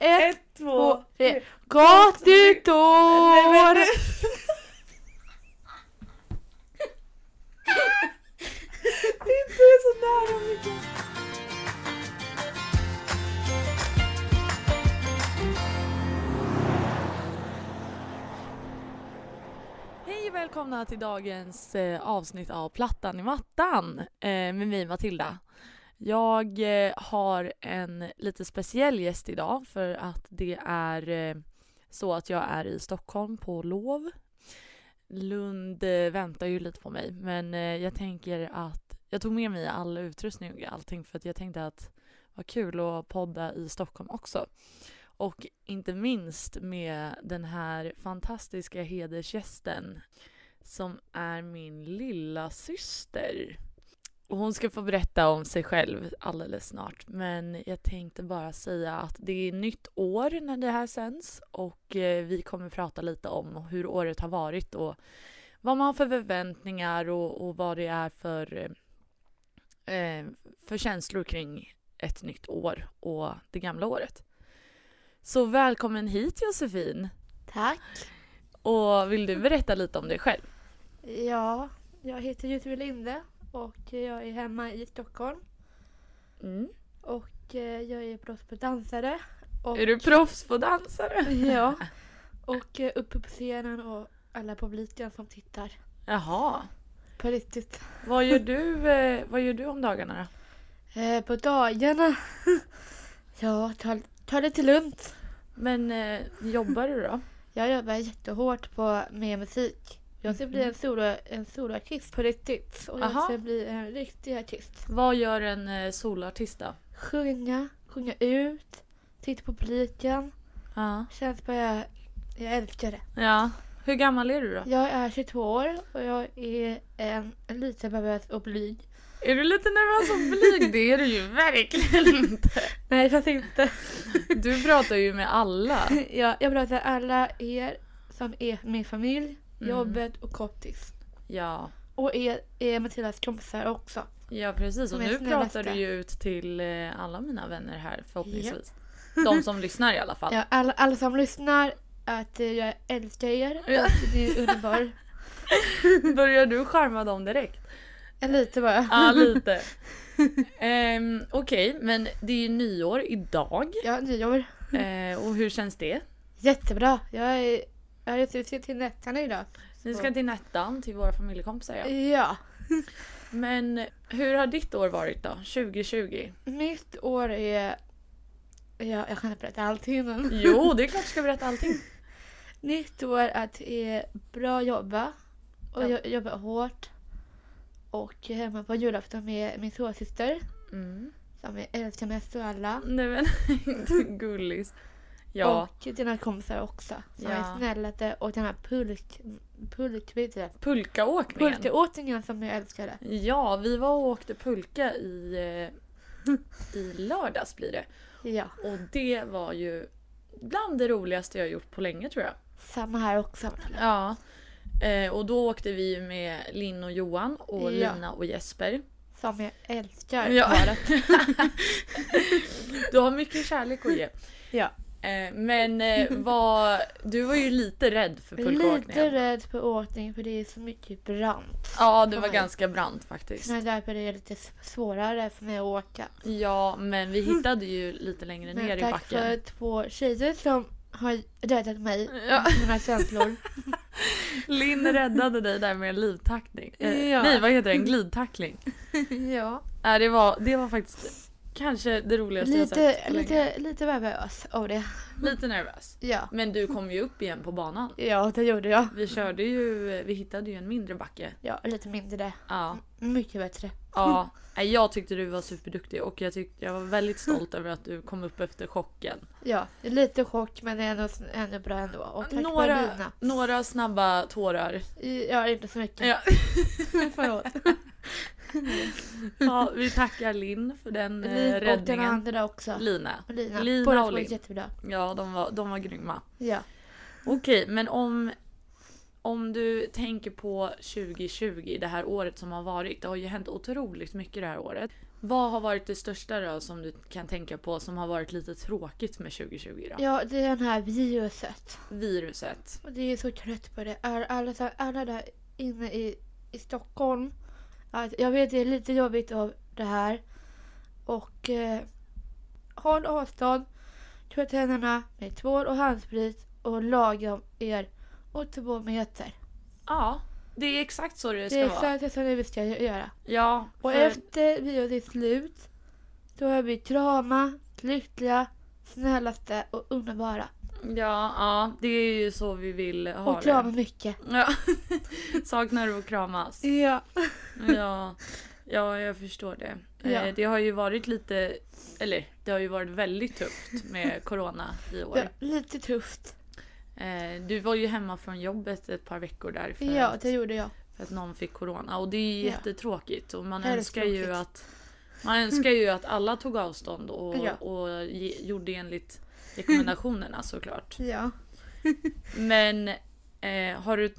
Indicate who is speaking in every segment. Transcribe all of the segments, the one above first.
Speaker 1: ett,
Speaker 2: Ett, två, tre. Nej, men-
Speaker 1: Gatutorg!
Speaker 2: Det är inte så nära mycket.
Speaker 1: Hej och välkomna till dagens eh, avsnitt av Plattan i mattan eh, med mig Matilda. Jag eh, har en lite speciell gäst idag för att det är eh, så att jag är i Stockholm på lov. Lund eh, väntar ju lite på mig men eh, jag tänker att jag tog med mig all utrustning och allting för att jag tänkte att vad kul att podda i Stockholm också. Och inte minst med den här fantastiska hedersgästen som är min lilla syster. Och hon ska få berätta om sig själv alldeles snart. Men jag tänkte bara säga att det är nytt år när det här sänds och eh, vi kommer prata lite om hur året har varit och vad man har för förväntningar och, och vad det är för, eh, eh, för känslor kring ett nytt år och det gamla året. Så välkommen hit Josefin!
Speaker 3: Tack.
Speaker 1: Och vill du berätta lite om dig själv?
Speaker 3: Ja, jag heter Josefin Linde och jag är hemma i Stockholm.
Speaker 1: Mm.
Speaker 3: Och eh, jag är proffs på dansare. Och,
Speaker 1: Är du proffs på dansare?
Speaker 3: Ja. Och eh, uppe på scenen och alla publiken som tittar.
Speaker 1: Jaha.
Speaker 3: På riktigt.
Speaker 1: Vad gör du, eh, vad gör du om dagarna då?
Speaker 3: Eh, på dagarna. ja, ta, ta det till lugnt.
Speaker 1: Men eh, jobbar du då?
Speaker 3: Jag jobbar jättehårt på, med musik. Jag ska bli en, solo, en soloartist på riktigt. Och jag
Speaker 1: Mm-hmm. Aha.
Speaker 3: ska bli en riktig artist.
Speaker 1: Vad gör en eh, soloartist då?
Speaker 3: Sjunga, sjunga ut, titta på publiken.
Speaker 1: Ja.
Speaker 3: Känns bara jag, jag älskar det.
Speaker 1: ja. Hur gammal är du då?
Speaker 3: Jag är 22 år och jag är en lite nervös och blyg.
Speaker 1: Är du lite nervös och blyg? Det är du ju verkligen inte.
Speaker 3: Nej, fast inte.
Speaker 1: Du pratar ju med alla.
Speaker 3: jag, jag pratar alla er som är min familj,
Speaker 1: Mm.
Speaker 3: jobbet och kompis.
Speaker 1: Ja.
Speaker 3: Och er, er Matildas kompisar också.
Speaker 1: Ja precis och
Speaker 3: De är
Speaker 1: nu pratar
Speaker 3: snällaste.
Speaker 1: du ju ut till eh, alla mina vänner här förhoppningsvis. De som lyssnar i alla fall.
Speaker 3: Ja, alla, alla som lyssnar, att eh, jag älskar er
Speaker 1: Ja.
Speaker 3: och ni är underbar.
Speaker 1: Börjar du charma dem direkt?
Speaker 3: En lite bara.
Speaker 1: Ja, lite. Ehm, Okej, men det är ju nyår idag.
Speaker 3: Ja, nyår.
Speaker 1: Eh, och hur känns det?
Speaker 3: Jättebra. Jag är, jag är ute till nätterna idag.
Speaker 1: Vi ska till Nettan, till våra familjekompisar. Ja.
Speaker 3: Ja.
Speaker 1: Men hur har ditt år varit då? 2020?
Speaker 3: Mitt år är... Ja, jag kan inte berätta allting men...
Speaker 1: Jo, det är klart du ska berätta allting.
Speaker 3: Mitt år är att är bra jobba. Och
Speaker 1: Ja.
Speaker 3: jag jobbar hårt. Och är hemma på julafton med min småsyster.
Speaker 1: Mm.
Speaker 3: Som jag älskar mest av alla.
Speaker 1: Nej men, du gullis. Ja,
Speaker 3: Och dina kompisar också.
Speaker 1: Ja.
Speaker 3: Som är snällaste. Och den här pulk... Pulk... Vet du det?
Speaker 1: pulkaåkningen.
Speaker 3: Pulkaåtingen som jag älskade.
Speaker 1: Ja, vi var och åkte pulka i, eh, i lördags blir det.
Speaker 3: Ja.
Speaker 1: Och det var ju bland det roligaste jag gjort på länge tror jag.
Speaker 3: Samma här också.
Speaker 1: Ja. Eh, och då åkte vi ju med Linn och Johan och
Speaker 3: Ja.
Speaker 1: Lina och Jesper.
Speaker 3: Som jag älskar.
Speaker 1: Ja.
Speaker 3: paret.
Speaker 1: Du har mycket kärlek att ge.
Speaker 3: Ja.
Speaker 1: Eh, men eh, var, du var ju lite rädd för
Speaker 3: Jag är lite
Speaker 1: pulkaåkningen.
Speaker 3: rädd för åkning för det är så mycket brant.
Speaker 1: Ja, det var
Speaker 3: Oj.
Speaker 1: ganska brant faktiskt.
Speaker 3: Men därför är det lite s- svårare för mig att åka.
Speaker 1: Ja, men vi hittade ju lite längre ner
Speaker 3: Men
Speaker 1: i
Speaker 3: tack
Speaker 1: backen.
Speaker 3: för två tjejer som har räddat mig.
Speaker 1: Ja.
Speaker 3: Mina känslor.
Speaker 1: Linn räddade dig där med en livtackling. Eh,
Speaker 3: Ja.
Speaker 1: Nej, vad heter det? En glidtackling.
Speaker 3: ja.
Speaker 1: Äh, det, var, det var faktiskt kanske det roligaste jag sett
Speaker 3: Lite,
Speaker 1: på länge.
Speaker 3: lite, lite nervös av det.
Speaker 1: Lite nervös.
Speaker 3: Ja.
Speaker 1: Men du kom ju upp igen på banan.
Speaker 3: Ja, det gjorde jag.
Speaker 1: Vi körde ju, vi hittade ju en mindre backe.
Speaker 3: Ja, lite mindre.
Speaker 1: Ja.
Speaker 3: Mycket bättre.
Speaker 1: ja. Nej, Jag tyckte du var superduktig och jag, tyckte, jag var väldigt stolt över att du kom upp efter chocken.
Speaker 3: Ja, lite chock men ändå, ändå bra ändå. Och tack
Speaker 1: Några-
Speaker 3: vare Lina.
Speaker 1: Några snabba tårar.
Speaker 3: Ja, inte så mycket.
Speaker 1: Ja.
Speaker 3: Förlåt.
Speaker 1: Ja, vi tackar Linn för den eh,
Speaker 3: Lin och den
Speaker 1: räddningen.
Speaker 3: andra också.
Speaker 1: Lina.
Speaker 3: Och Lina.
Speaker 1: Lina
Speaker 3: Båda
Speaker 1: och
Speaker 3: två är
Speaker 1: Lin.
Speaker 3: jättebra.
Speaker 1: Ja, de var, de var grymma.
Speaker 3: Ja.
Speaker 1: Okej, men om, om du tänker på 2020, det här året som har varit. Det har ju hänt otroligt mycket det här året. Vad har varit det största då som du kan tänka på som har varit lite tråkigt med 2020 då?
Speaker 3: Ja, det är den här viruset.
Speaker 1: Viruset.
Speaker 3: Och det är så trött på det. Alla, alla, så- alla där inne i, i Stockholm. Alltså, jag vet det är lite jobbigt av det här. Och eh, håll avstånd. Tvätta händerna med tvål och handsprit och lagom er och två meter.
Speaker 1: Ja, det är exakt så det
Speaker 3: Det
Speaker 1: ska
Speaker 3: är
Speaker 1: vara.
Speaker 3: exakt det som vi ska göra.
Speaker 1: Ja,
Speaker 3: Och
Speaker 1: för-
Speaker 3: efter viruset är slut då är vi krama, lyckliga, snällaste och underbara.
Speaker 1: ja, ja, det är ju så vi vill ha
Speaker 3: Och krama
Speaker 1: det.
Speaker 3: mycket.
Speaker 1: Ja. Saknar du att kramas?
Speaker 3: Ja.
Speaker 1: Ja, ja jag förstår det. Eh,
Speaker 3: Ja.
Speaker 1: Det har ju varit lite, eller det har ju varit väldigt tufft med corona i år.
Speaker 3: ja lite tufft.
Speaker 1: Eh, Du var ju hemma från jobbet ett par veckor där för,
Speaker 3: Ja,
Speaker 1: att,
Speaker 3: det gjorde jag.
Speaker 1: för att någon fick corona och det är ju
Speaker 3: Ja.
Speaker 1: jättetråkigt och man
Speaker 3: Det är
Speaker 1: önskar ju
Speaker 3: tråkigt.
Speaker 1: att man önskar ju att alla tog avstånd och,
Speaker 3: Ja.
Speaker 1: och ge, gjorde enligt rekommendationerna såklart.
Speaker 3: Ja.
Speaker 1: Men eh, har du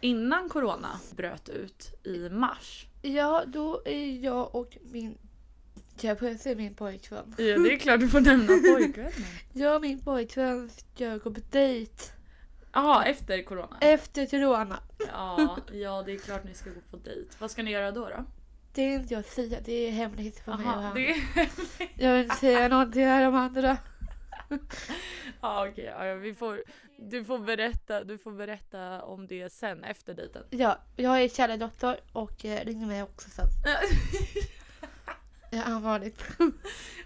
Speaker 1: innan corona bröt ut i mars?
Speaker 3: ja, då är jag och min... Ska jag får se min pojkvän?
Speaker 1: Ja, det är klart du får nämna pojkvännen.
Speaker 3: Jag och min pojkvän ska gå på dejt
Speaker 1: Ja, efter corona.
Speaker 3: efter corona.
Speaker 1: Ja, ja, det är klart ni ska gå på dejt. Vad ska ni göra då? då?
Speaker 3: Det är inte jag att säga, det är hemligt för mig och
Speaker 1: Aha,
Speaker 3: han.
Speaker 1: det
Speaker 3: Jag vill inte säga någonting här om andra.
Speaker 1: ja, okej. Ja, ja, vi får, du, får berätta, du får berätta om det sen, efter dejten.
Speaker 3: Ja, jag är kärleksdoktor och eh, ringer mig också sen. Jag är anvarligt.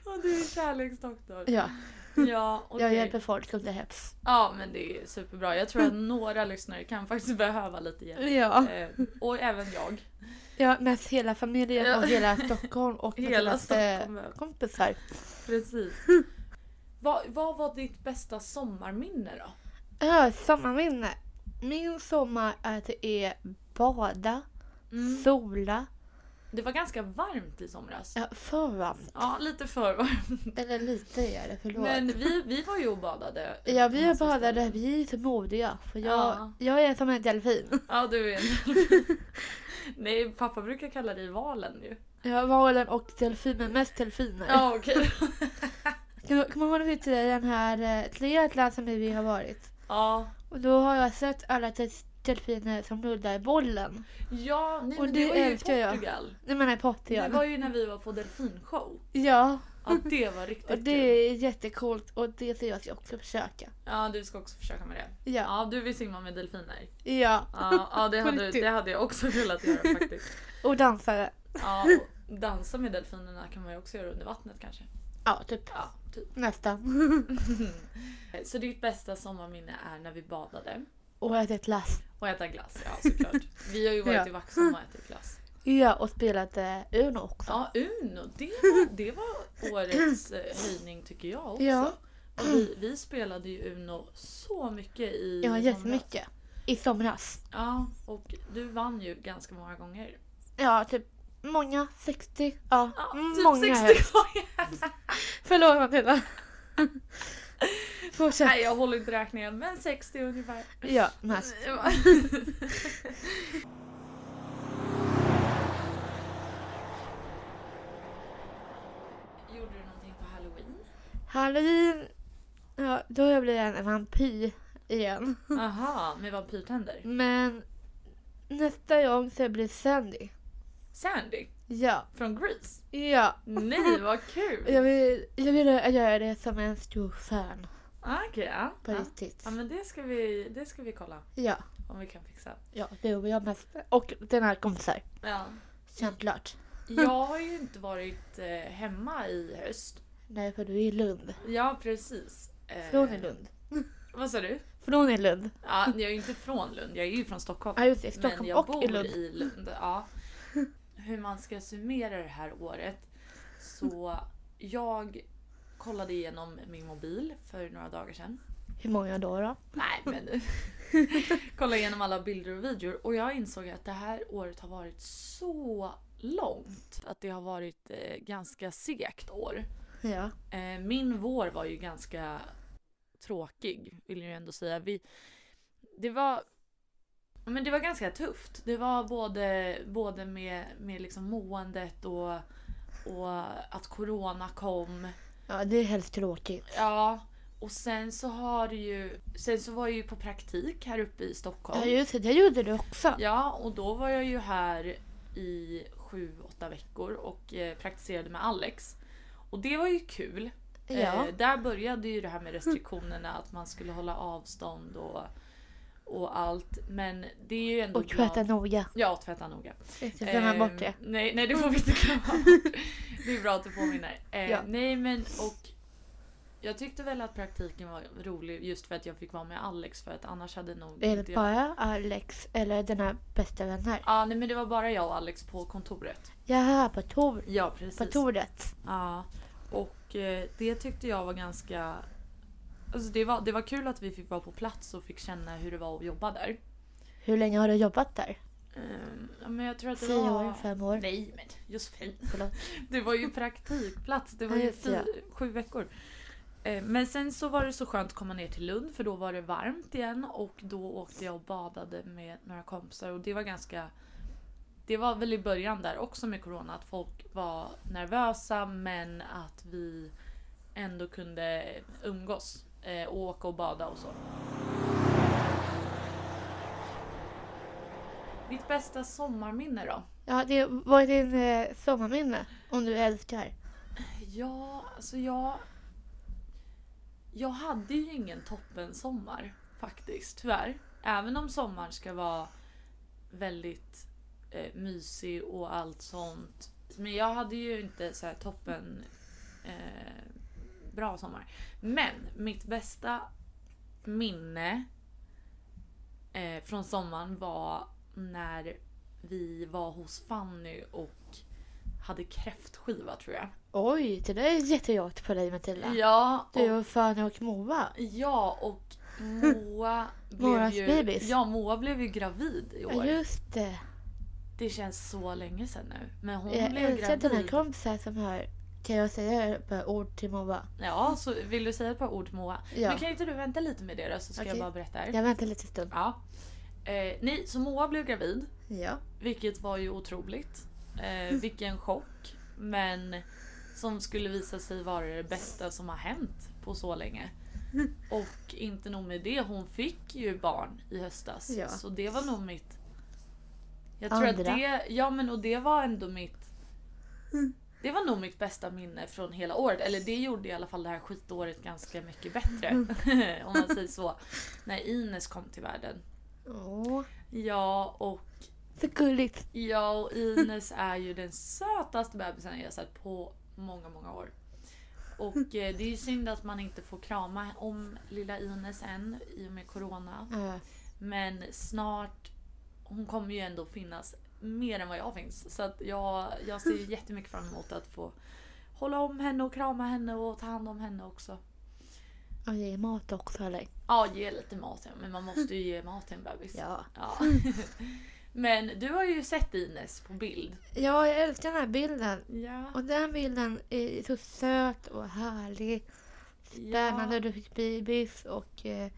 Speaker 1: och du är kärleksdoktor.
Speaker 3: Ja,
Speaker 1: Ja,
Speaker 3: jag
Speaker 1: okej.
Speaker 3: hjälper folk om det behövs.
Speaker 1: Ja, men det är superbra. Jag tror att några lyssnare kan faktiskt behöva lite hjälp.
Speaker 3: Ja.
Speaker 1: Eh, och även jag.
Speaker 3: ja, mest hela familjen
Speaker 1: Ja.
Speaker 3: och hela Stockholm och
Speaker 1: Hela
Speaker 3: mest, eh,
Speaker 1: Stockholm.
Speaker 3: kompisar.
Speaker 1: Precis. Vad, vad var ditt bästa sommarminne då?
Speaker 3: Ja, sommarminne. Min sommar är att det är bada, Mm. sola,
Speaker 1: Det var ganska varmt i somras.
Speaker 3: ja, för varmt.
Speaker 1: Ja, lite för varmt.
Speaker 3: Eller lite är det, förlåt.
Speaker 1: Men vi, vi var ju och badade.
Speaker 3: Ja,
Speaker 1: på
Speaker 3: vi
Speaker 1: massa
Speaker 3: badade,
Speaker 1: ställen.
Speaker 3: vi är så modiga. För jag,
Speaker 1: Ja.
Speaker 3: jag är som en delfin.
Speaker 1: Ja, du är en Nej, pappa brukar kalla dig valen ju.
Speaker 3: Jag var den och delfinen, mest delfiner.
Speaker 1: Ja, okej.
Speaker 3: Kommer kom ihåg när vi till den här eh, triathlon som vi har varit?
Speaker 1: Ja.
Speaker 3: Och då har jag sett alla del- delfiner som nuddar i bollen.
Speaker 1: Ja, nej,
Speaker 3: Och
Speaker 1: men
Speaker 3: det
Speaker 1: det var ju i
Speaker 3: älskar jag.
Speaker 1: Portugal.
Speaker 3: Nej men i
Speaker 1: Det
Speaker 3: Portugal.
Speaker 1: var ju när vi var på delfinshow.
Speaker 3: Ja,
Speaker 1: Ja, det var riktigt
Speaker 3: och det
Speaker 1: kul.
Speaker 3: är jättecoolt och det ska jag ska också försöka.
Speaker 1: Ja, du ska också försöka med det.
Speaker 3: Ja.
Speaker 1: Ja, du vill simma med delfiner.
Speaker 3: Ja.
Speaker 1: Ja, ja det,
Speaker 3: På
Speaker 1: hade,
Speaker 3: riktigt.
Speaker 1: det hade jag också velat göra faktiskt.
Speaker 3: Och dansare.
Speaker 1: Ja, och dansa med delfinerna kan man ju också göra under vattnet kanske.
Speaker 3: Ja, typ.
Speaker 1: Ja, typ.
Speaker 3: Nästan.
Speaker 1: Så ditt bästa sommarminne är när vi badade
Speaker 3: Och ätit glass.
Speaker 1: och äta glass. Ja, såklart. Vi har ju varit
Speaker 3: Ja.
Speaker 1: i Vaxholm och ätit glass.
Speaker 3: Ja, och spelat eh, Uno också.
Speaker 1: Ja, Uno. Det var, det var årets eh, höjning tycker jag också.
Speaker 3: Ja.
Speaker 1: Och vi, vi spelade ju Uno så mycket i
Speaker 3: Ja,
Speaker 1: somras.
Speaker 3: jättemycket. I somras.
Speaker 1: Ja, och du vann ju ganska många gånger.
Speaker 3: Ja, typ många. 60. Ja,
Speaker 1: Ja,
Speaker 3: mm,
Speaker 1: typ
Speaker 3: många.
Speaker 1: 60 gånger.
Speaker 3: Förlåt Matilda. Fortsätt.
Speaker 1: Nej, jag håller inte räkningen, men 60 ungefär.
Speaker 3: Ja,
Speaker 1: Alltså,
Speaker 3: mest.
Speaker 1: Gjorde du någonting på halloween?
Speaker 3: Halloween. Ja, då blir jag en vampyr igen.
Speaker 1: Aha, med vampyrtänder.
Speaker 3: Men nästa gång så blir Sandy.
Speaker 1: Sandy
Speaker 3: Ja,
Speaker 1: från Grease.
Speaker 3: ja.
Speaker 1: Nej, vad
Speaker 3: Jag
Speaker 1: kul!
Speaker 3: vill, jag vill göra det som en stor fan.
Speaker 1: Ah, Okej, ja.
Speaker 3: På
Speaker 1: ja.
Speaker 3: riktigt.
Speaker 1: ja men det ska, vi, det ska vi kolla
Speaker 3: Ja,
Speaker 1: om vi kan fixa.
Speaker 3: ja, det vill jag mest. Och den här kompisar.
Speaker 1: Ja.
Speaker 3: Självklart.
Speaker 1: Jag har ju inte varit eh, hemma i höst.
Speaker 3: Nej, för du är i Lund.
Speaker 1: Ja, precis. Eh,
Speaker 3: Från i Lund.
Speaker 1: Vad sa du?
Speaker 3: Från i Lund.
Speaker 1: Ja, jag är ju inte från Lund, jag är ju från Stockholm.
Speaker 3: Ja, just det.
Speaker 1: men
Speaker 3: Stockholm
Speaker 1: jag
Speaker 3: och
Speaker 1: bor
Speaker 3: i Lund.
Speaker 1: Ja. Hur man ska summera det här året. Så jag kollade igenom min mobil för några dagar sedan.
Speaker 3: Hur många då? då?
Speaker 1: Nej men nu. Kollade igenom alla bilder och videor och jag insåg att det här året har varit så långt. Att det har varit eh, ganska segt år.
Speaker 3: Ja.
Speaker 1: Eh, min vår var ju ganska tråkig, vill jag ju ändå säga. Vi, det var men det var ganska tufft. Det var både, både med, med liksom måendet och, och att corona kom.
Speaker 3: Ja, det är helst tråkigt.
Speaker 1: Ja, och sen så har det ju... Sen så var jag ju på praktik här uppe i Stockholm.
Speaker 3: Ja, just det. Det gjorde du också.
Speaker 1: Ja, och då var jag ju här i sju, åtta veckor och eh, praktiserade med Alex. Och det var ju kul.
Speaker 3: Ja.
Speaker 1: Eh, där började ju det här med restriktionerna, att man skulle hålla avstånd och, och allt. Men det är ju ändå...
Speaker 3: Och tvätta
Speaker 1: bra-
Speaker 3: noga.
Speaker 1: Ja, tvätta noga.
Speaker 3: Inte glömma
Speaker 1: Ehm,
Speaker 3: bort det.
Speaker 1: Nej, nej det får vi inte glömma bort. Det är bra att du påminner. Eh,
Speaker 3: Ja.
Speaker 1: Nej men och jag tyckte väl att praktiken var rolig just för att jag fick vara med Alex för att annars hade nog
Speaker 3: Är det
Speaker 1: jag...
Speaker 3: bara Alex eller dina bästa vänner?
Speaker 1: Ja, nej men det var bara jag och Alex på kontoret.
Speaker 3: Jaha, på, tor-
Speaker 1: Ja
Speaker 3: på
Speaker 1: precis.
Speaker 3: tornet.
Speaker 1: Ja, och eh, det tyckte jag var ganska... Alltså det var, det var kul att vi fick vara på plats och fick känna hur det var att jobba där.
Speaker 3: Hur länge har du jobbat där?
Speaker 1: Ehm, ja, men jag tror att det
Speaker 3: Tio
Speaker 1: var...
Speaker 3: år? Fem år?
Speaker 1: Nej men Josefin.
Speaker 3: Förlåt.
Speaker 1: Det var ju praktikplats. Det var
Speaker 3: Ja,
Speaker 1: ju
Speaker 3: just det.
Speaker 1: fy- sju veckor. Eh, Men sen så var det så skönt att komma ner till Lund för då var det varmt igen och då åkte jag och badade med några kompisar och det var ganska... Det var väl i början där också med corona att folk var nervösa men att vi ändå kunde umgås eh, och åka och bada och så. Mitt bästa sommarminne då?
Speaker 3: Ja, det var din eh, sommarminne. Om du älskar.
Speaker 1: Ja, alltså jag... Jag hade ju ingen toppen sommar faktiskt, tyvärr. Även om sommaren ska vara väldigt eh, mysig och allt sånt. Men jag hade ju inte så här toppen eh, bra sommar. Men mitt bästa minne eh, från sommaren var när vi var hos Fanny och hade kräftskiva tror jag.
Speaker 3: Oj, det där är jättejakt på dig Matilda.
Speaker 1: Ja, och,
Speaker 3: Du och Fanny och Moa.
Speaker 1: ja, och Moa blev,
Speaker 3: Moas
Speaker 1: ju,
Speaker 3: bebis.
Speaker 1: ja, Moa blev ju gravid i
Speaker 3: Ja,
Speaker 1: år.
Speaker 3: just det.
Speaker 1: Det känns så länge sedan nu. Men hon
Speaker 3: jag
Speaker 1: blev
Speaker 3: älskar dina
Speaker 1: gravid.
Speaker 3: kompisar som hör. Kan jag säga ett par ord till Moa?
Speaker 1: Ja, så vill du säga ett par ord till Moa?
Speaker 3: Ja.
Speaker 1: Men kan inte du vänta lite med det då så ska jag
Speaker 3: Okej.
Speaker 1: bara berätta. här.
Speaker 3: Jag väntar lite stund.
Speaker 1: Ja. Eh, nej, så Moa blev gravid.
Speaker 3: Ja.
Speaker 1: Vilket var ju otroligt. Eh, vilken chock. Men som skulle visa sig vara det bästa som har hänt på så länge. Och inte nog med det, hon fick ju barn i höstas.
Speaker 3: Ja.
Speaker 1: Så det var nog mitt... Jag tror att
Speaker 3: Andra.
Speaker 1: det, ja men och det var ändå mitt... Det var nog mitt bästa minne från hela året. Eller det gjorde i alla fall det här skitåret ganska mycket bättre.
Speaker 3: Mm.
Speaker 1: om man säger så. När Ines kom till världen.
Speaker 3: Åh,
Speaker 1: Ja, och
Speaker 3: så gulligt.
Speaker 1: Ja, och Ines är ju den sötaste bebisen jag har sett på många, många år. Och eh, det är ju synd att man inte får krama om lilla Ines än i och med corona.
Speaker 3: Ja.
Speaker 1: Men snart, hon kommer ju ändå finnas mer än vad jag finns. Så att jag, jag ser ju jättemycket fram emot att få hålla om henne och krama henne och ta hand om henne också.
Speaker 3: Och ge mat också eller?
Speaker 1: Ja, ge lite mat ja, men man måste ju ge mat till en bebis.
Speaker 3: Ja.
Speaker 1: Ja. Men du har ju sett Ines på bild.
Speaker 3: Ja, jag älskar den här bilden.
Speaker 1: Ja.
Speaker 3: Och den bilden är så söt och härlig. Spännande. Du fick bebis och eh,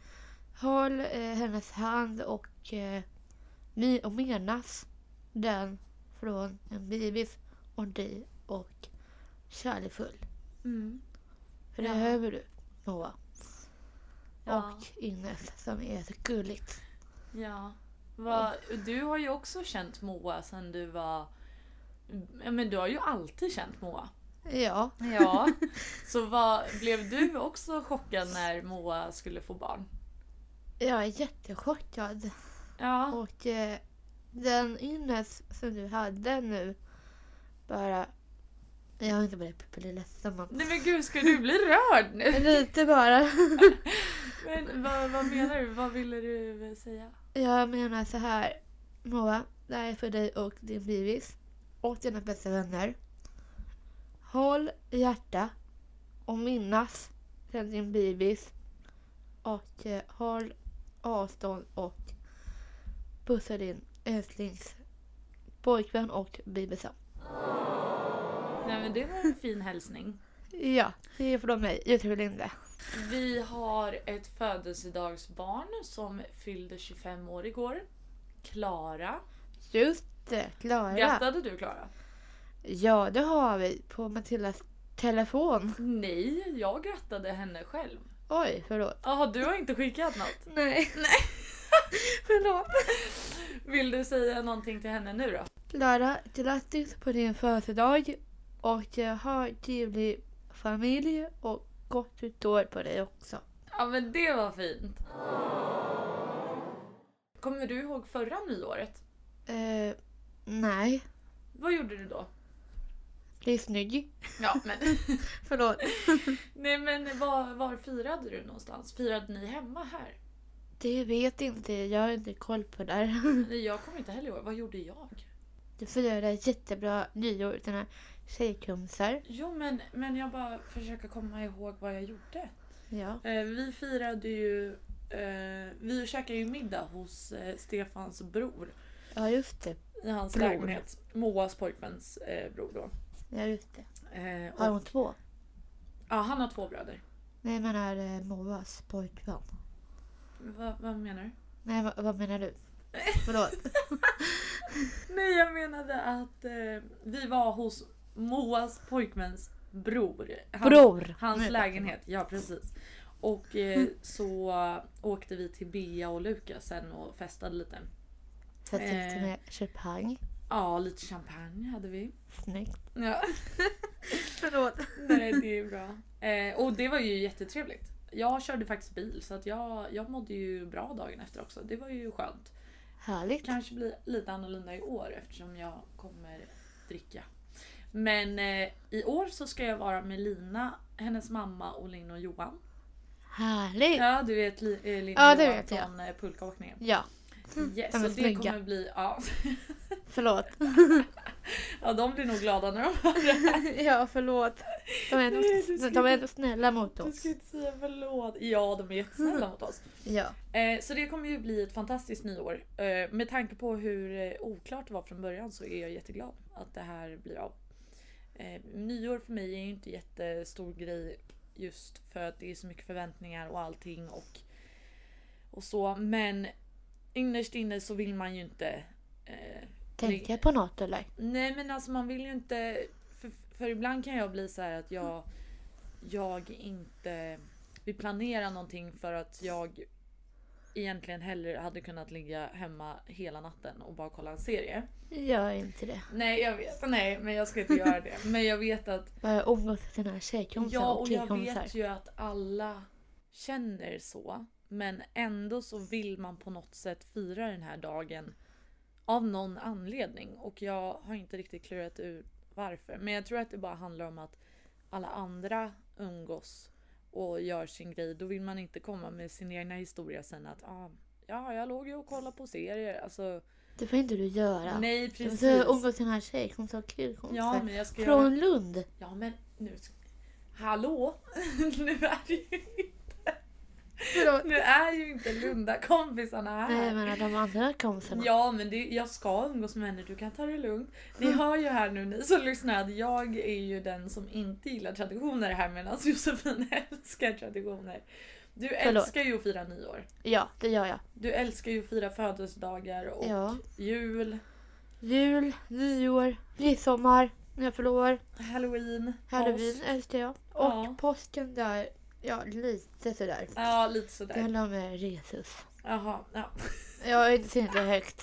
Speaker 3: håll eh, hennes hand och, eh, mi- och menas den från en bebis och dig och kärleksfull.
Speaker 1: Mm.
Speaker 3: För det
Speaker 1: Ja.
Speaker 3: behöver du Moa.
Speaker 1: Ja.
Speaker 3: Och Ines som är så gulligt.
Speaker 1: Ja. Va, du har ju också känt Moa sen du var... Ja, men du har ju alltid känt Moa.
Speaker 3: Ja,
Speaker 1: Ja. Så vad, blev du också chockad när Moa skulle få barn?
Speaker 3: jag är jättechockad.
Speaker 1: Ja.
Speaker 3: Och eh, den Ines som du hade nu bara... Jag har inte börjat bli ledsen men...
Speaker 1: Nej men gud, ska du bli rörd nu?
Speaker 3: Lite bara.
Speaker 1: Men vad, vad menar du? Vad ville du säga?
Speaker 3: Jag menar så här. Moa, det här är för dig och din bebis. Och dina bästa vänner. Håll i hjärta och minnas sen din bebis. Och eh, håll avstånd och pussa din älsklings pojkvän och bebisen.
Speaker 1: Nej men det var en fin hälsning.
Speaker 3: Ja, det är från mig. Josefin Linde.
Speaker 1: Vi har ett födelsedagsbarn som fyllde 25 år igår. Klara.
Speaker 3: Just det, Klara.
Speaker 1: Grattade du Klara?
Speaker 3: Ja, det har vi på Matildas telefon.
Speaker 1: Nej, jag grattade henne själv.
Speaker 3: Oj, förlåt.
Speaker 1: Jaha, du har inte skickat något.
Speaker 3: Nej. Nej. förlåt.
Speaker 1: Vill du säga någonting till henne nu då?
Speaker 3: Klara, grattis på din födelsedag och eh, ha en trevlig familj och gott nytt år på dig också.
Speaker 1: Ja men det var fint. Kommer du ihåg förra nyåret?
Speaker 3: Eh, nej,
Speaker 1: Vad gjorde du då?
Speaker 3: det är snygg.
Speaker 1: Ja men...
Speaker 3: Förlåt.
Speaker 1: Nej men var, var firade du någonstans? Firade ni hemma här?
Speaker 3: Det vet inte jag, jag har inte koll på det här.
Speaker 1: Nej, Jag kommer inte heller ihåg. Vad gjorde jag?
Speaker 3: Du får göra ett jättebra nyår, dina tjejkompisar.
Speaker 1: Jo men, men jag bara försöker komma ihåg vad jag gjorde.
Speaker 3: Ja.
Speaker 1: Eh, vi firade ju... Eh, vi käkade ju middag hos eh, Stefans bror.
Speaker 3: ja, just det.
Speaker 1: I hans
Speaker 3: Bror.
Speaker 1: lägenhet. Moas pojkväns eh, bror då.
Speaker 3: Ja, just det.
Speaker 1: Eh,
Speaker 3: Har
Speaker 1: och,
Speaker 3: hon två?
Speaker 1: ja, han har två bröder.
Speaker 3: Nej, jag menar eh, Moas pojkvän.
Speaker 1: Va, vad menar du?
Speaker 3: Nej, vad, vad menar du? Förlåt.
Speaker 1: Nej, jag menade att eh, vi var hos Moas pojkväns bror. Han-
Speaker 3: Bror!
Speaker 1: Hans
Speaker 3: Nej,
Speaker 1: lägenhet, ja precis. Och
Speaker 3: Mm.
Speaker 1: eh, så åkte vi till Bea och Lukas sen och festade lite.
Speaker 3: För att
Speaker 1: Eh.
Speaker 3: eh. med champagne.
Speaker 1: Ja, lite champagne hade vi.
Speaker 3: Snyggt.
Speaker 1: Ja,
Speaker 3: Förlåt.
Speaker 1: nej det är bra. Eh, och det var ju jättetrevligt. Jag körde faktiskt bil så att jag, jag mådde ju bra dagen efter också. Det var ju skönt.
Speaker 3: Härligt.
Speaker 1: Kanske blir lite annorlunda i år eftersom jag kommer dricka. Men eh, i år så ska jag vara med Lina, hennes mamma och Linn och Johan.
Speaker 3: Härligt. Ja,
Speaker 1: Ja, du vet Li- eh, Linn och
Speaker 3: Mm. Ja, det
Speaker 1: Johan
Speaker 3: vet jag. Mm.
Speaker 1: från eh, pulkaåkningen. Yes,
Speaker 3: De är
Speaker 1: så det
Speaker 3: snygga.
Speaker 1: kommer bli... Ja.
Speaker 3: förlåt.
Speaker 1: ja, de blir nog glada när de hör det här.
Speaker 3: ja, förlåt. De är, ändå,
Speaker 1: Nej, du ska
Speaker 3: de är
Speaker 1: inte-
Speaker 3: ändå snälla mot
Speaker 1: Du
Speaker 3: oss.
Speaker 1: ska inte säga förlåt. Ja, de är
Speaker 3: Mm.
Speaker 1: jättesnälla mot oss.
Speaker 3: Ja.
Speaker 1: Eh, så det kommer ju bli ett fantastiskt nyår. Eh, med tanke på hur eh, oklart det var från början så är jag jätteglad att det här blir av. Eh, nyår för mig är ju inte jättestor grej just för att det är så mycket förväntningar och allting och, och så. Men innerst inne så vill man ju inte eh,
Speaker 3: Tänka på något eller?
Speaker 1: Nej men alltså man vill ju inte... För, för ibland kan jag bli så här att jag... Jag inte vill planera någonting för att jag egentligen hellre hade kunnat ligga hemma hela natten och bara kolla en serie.
Speaker 3: Gör inte det.
Speaker 1: Nej jag vet, nej men jag ska inte göra det. Men jag vet att...
Speaker 3: Bara umgås med sina tjejkompisar
Speaker 1: Ja
Speaker 3: och
Speaker 1: och jag
Speaker 3: killkompisar.
Speaker 1: vet ju att alla känner så. Men ändå så vill man på något sätt fira den här dagen av någon anledning. Och jag har inte riktigt klurat ut varför. Men jag tror att det bara handlar om att alla andra umgås och gör sin grej. Då vill man inte komma med sin egna historia sen att ah, ja, jag låg ju och kollade på serier. Alltså,
Speaker 3: Det får inte du göra.
Speaker 1: nej
Speaker 3: Du
Speaker 1: precis.
Speaker 3: måste umgås med sina tjejkompisar och
Speaker 1: Ja,
Speaker 3: killkompisar.
Speaker 1: men jag ska göra...
Speaker 3: Från Lund.
Speaker 1: Ja, men nu... ska- Hallå! nu är det ju...
Speaker 3: Förlåt.
Speaker 1: Nu är ju inte Lunda-kompisarna här.
Speaker 3: Nej, jag menar de andra kompisarna.
Speaker 1: Ja men det, jag ska umgås med henne, du kan ta det lugnt. Ni
Speaker 3: Mm.
Speaker 1: hör ju här nu ni som lyssnar att jag är ju den som inte gillar traditioner här medan Josefin älskar traditioner. Du
Speaker 3: Förlåt.
Speaker 1: älskar ju att fira nyår.
Speaker 3: ja, det gör jag.
Speaker 1: Du älskar ju att fira födelsedagar och
Speaker 3: Ja.
Speaker 1: jul,
Speaker 3: Jul, nyår, midsommar, när jag fyller år,
Speaker 1: halloween,
Speaker 3: halloween
Speaker 1: påsk.
Speaker 3: älskar jag. Och
Speaker 1: Ja.
Speaker 3: påsken där, ja lite sådär.
Speaker 1: Ja lite
Speaker 3: Det
Speaker 1: sådär.
Speaker 3: handlar om eh, Jesus.
Speaker 1: Jaha, ja.
Speaker 3: Jag är inte tillräckligt högt.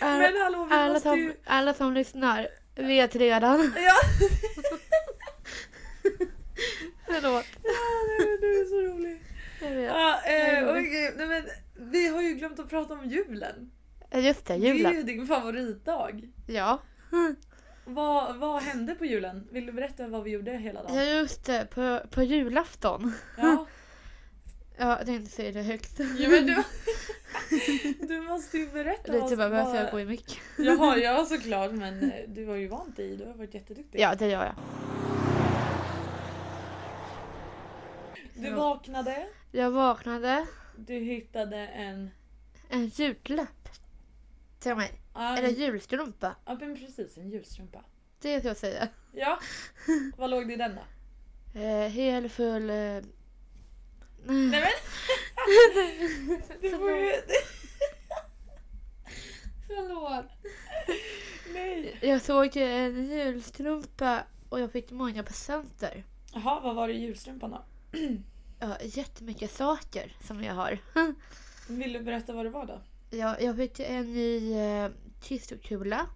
Speaker 3: alla,
Speaker 1: Men hallå vi
Speaker 3: alla,
Speaker 1: måste
Speaker 3: som,
Speaker 1: ju...
Speaker 3: alla som lyssnar vet redan.
Speaker 1: Ja.
Speaker 3: Förlåt.
Speaker 1: Nej, men du är så rolig.
Speaker 3: Jag vet.
Speaker 1: Ja, eh,
Speaker 3: Jag är rolig.
Speaker 1: okej, nej, men, vi har ju glömt att prata om julen.
Speaker 3: Ja, Just det,
Speaker 1: Det är
Speaker 3: julen.
Speaker 1: ju din favoritdag.
Speaker 3: Ja.
Speaker 1: Vad, vad hände på julen? Vill du berätta vad vi gjorde hela
Speaker 3: ja,
Speaker 1: dagen?
Speaker 3: just det. På, på julafton.
Speaker 1: Ja,
Speaker 3: Ja, jag tänkte säga det högt.
Speaker 1: jo, men du, du måste ju berätta.
Speaker 3: Lite typ Alltså, bara börjar jag
Speaker 1: vad,
Speaker 3: gå i mycket.
Speaker 1: Jaha, ja såklart men eh, du har ju vant dig. Du har varit jätteduktig.
Speaker 3: Ja, det gör jag.
Speaker 1: Du vaknade,
Speaker 3: Jag vaknade.
Speaker 1: du hittade en...
Speaker 3: En julklapp. Till mig.
Speaker 1: Ja,
Speaker 3: Eller julstrumpa.
Speaker 1: ja men precis, en julstrumpa.
Speaker 3: Det ska jag säga.
Speaker 1: Ja, vad låg det i den då?
Speaker 3: Eh, hel full... Eh...
Speaker 1: Nej men! Du får ju... Förlåt. Nej!
Speaker 3: Jag såg en julstrumpa och jag fick många presenter.
Speaker 1: Jaha, vad var det i julstrumpan då?
Speaker 3: Ja, jättemycket saker som jag har.
Speaker 1: Vill du berätta vad det var då?
Speaker 3: Jag, jag fick en ny eh, kistokula.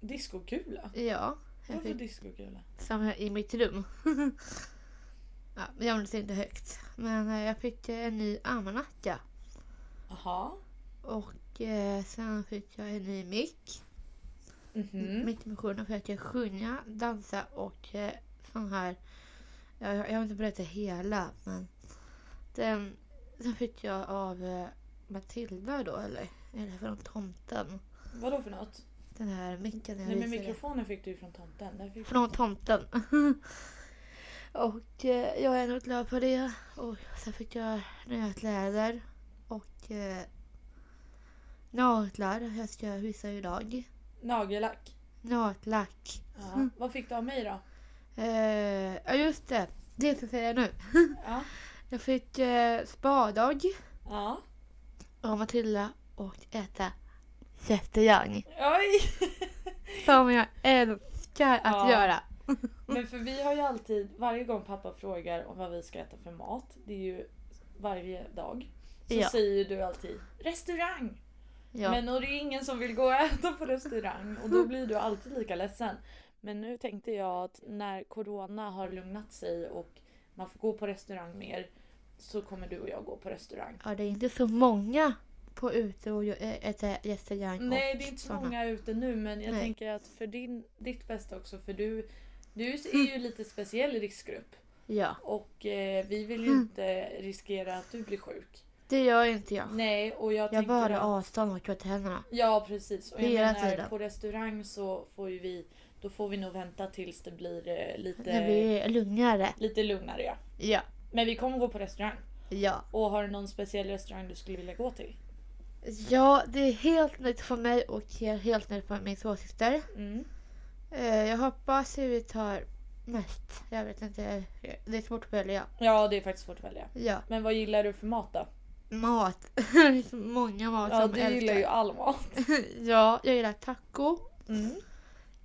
Speaker 1: Diskokula?
Speaker 3: Ja, jag
Speaker 1: Varför
Speaker 3: fick
Speaker 1: diskokula?
Speaker 3: samma i mitt rum. ja, men jag minns inte högt. Men eh, jag fick eh, en ny almanacka.
Speaker 1: Jaha.
Speaker 3: Och eh, sen fick jag en ny mick.
Speaker 1: Mhm.
Speaker 3: Mitt i missionen för att jag sjunga, dansa och eh, sån här... Jag, jag har inte berättat hela, men... Den, den fick jag av eh, Matilda då, eller? Eller från tomten.
Speaker 1: Vadå för något?
Speaker 3: Den här micken jag
Speaker 1: Nej men
Speaker 3: visade.
Speaker 1: mikrofonen fick du ju från tomten. Den fick...
Speaker 3: Från tomten. och eh, jag är ändå glad för det. Och sen fick jag nya kläder och eh, naglar. Jag ska visa idag.
Speaker 1: Nagellack.
Speaker 3: Nagellack.
Speaker 1: Ja. Vad fick du av mig då?
Speaker 3: Eh, ja just det, det ska jag säga nu.
Speaker 1: Ja.
Speaker 3: Jag fick eh, spadag
Speaker 1: ja.
Speaker 3: av Matilda och äta jättejang.
Speaker 1: Oj!
Speaker 3: Som jag älskar att
Speaker 1: Ja.
Speaker 3: göra. Mm.
Speaker 1: Men för vi har ju alltid, varje gång pappa frågar om vad vi ska äta för mat, det är ju varje dag, så
Speaker 3: Ja.
Speaker 1: säger du alltid restaurang.
Speaker 3: Ja.
Speaker 1: Men och det är ingen som vill gå och äta på restaurang och då blir du alltid lika ledsen. Men nu tänkte jag att när corona har lugnat sig och man får gå på restaurang mer så kommer du och jag gå på restaurang.
Speaker 3: ja, det är inte så många på ute och gör- ä- äter jättejang.
Speaker 1: Nej
Speaker 3: och
Speaker 1: det är inte så
Speaker 3: såna.
Speaker 1: många ute nu men jag
Speaker 3: Nej.
Speaker 1: tänker att för din, ditt bästa också för du, du
Speaker 3: Mm.
Speaker 1: är ju lite speciell riskgrupp.
Speaker 3: Ja,
Speaker 1: Och eh, vi vill ju
Speaker 3: Mm.
Speaker 1: inte riskera att du blir sjuk.
Speaker 3: det gör inte jag.
Speaker 1: Nej, och jag,
Speaker 3: Jag
Speaker 1: tänker...
Speaker 3: bara
Speaker 1: att-
Speaker 3: avstånd och tvättar händerna.
Speaker 1: Ja, precis. Och jag
Speaker 3: Hela
Speaker 1: menar,
Speaker 3: tiden.
Speaker 1: på restaurang så får ju vi... Då får vi nog vänta tills det blir eh, lite,
Speaker 3: När vi är lugnare.
Speaker 1: lite lugnare. Ja.
Speaker 3: Ja.
Speaker 1: Men vi kommer gå på restaurang.
Speaker 3: Ja.
Speaker 1: Och har du någon speciell restaurang du skulle vilja gå till?
Speaker 3: Ja, det är helt nytt för mig och helt nytt för min tvåsyster.
Speaker 1: Mm.
Speaker 3: Eh, Jag hoppas att vi tar mest. Jag vet inte. Det är svårt att välja.
Speaker 1: Ja, det är faktiskt svårt att välja.
Speaker 3: Ja.
Speaker 1: Men vad gillar du för mat då?
Speaker 3: Mat. det är så många mat
Speaker 1: Ja,
Speaker 3: som
Speaker 1: du gillar ju
Speaker 3: älskar.
Speaker 1: all mat.
Speaker 3: ja, jag gillar taco.
Speaker 1: Mm.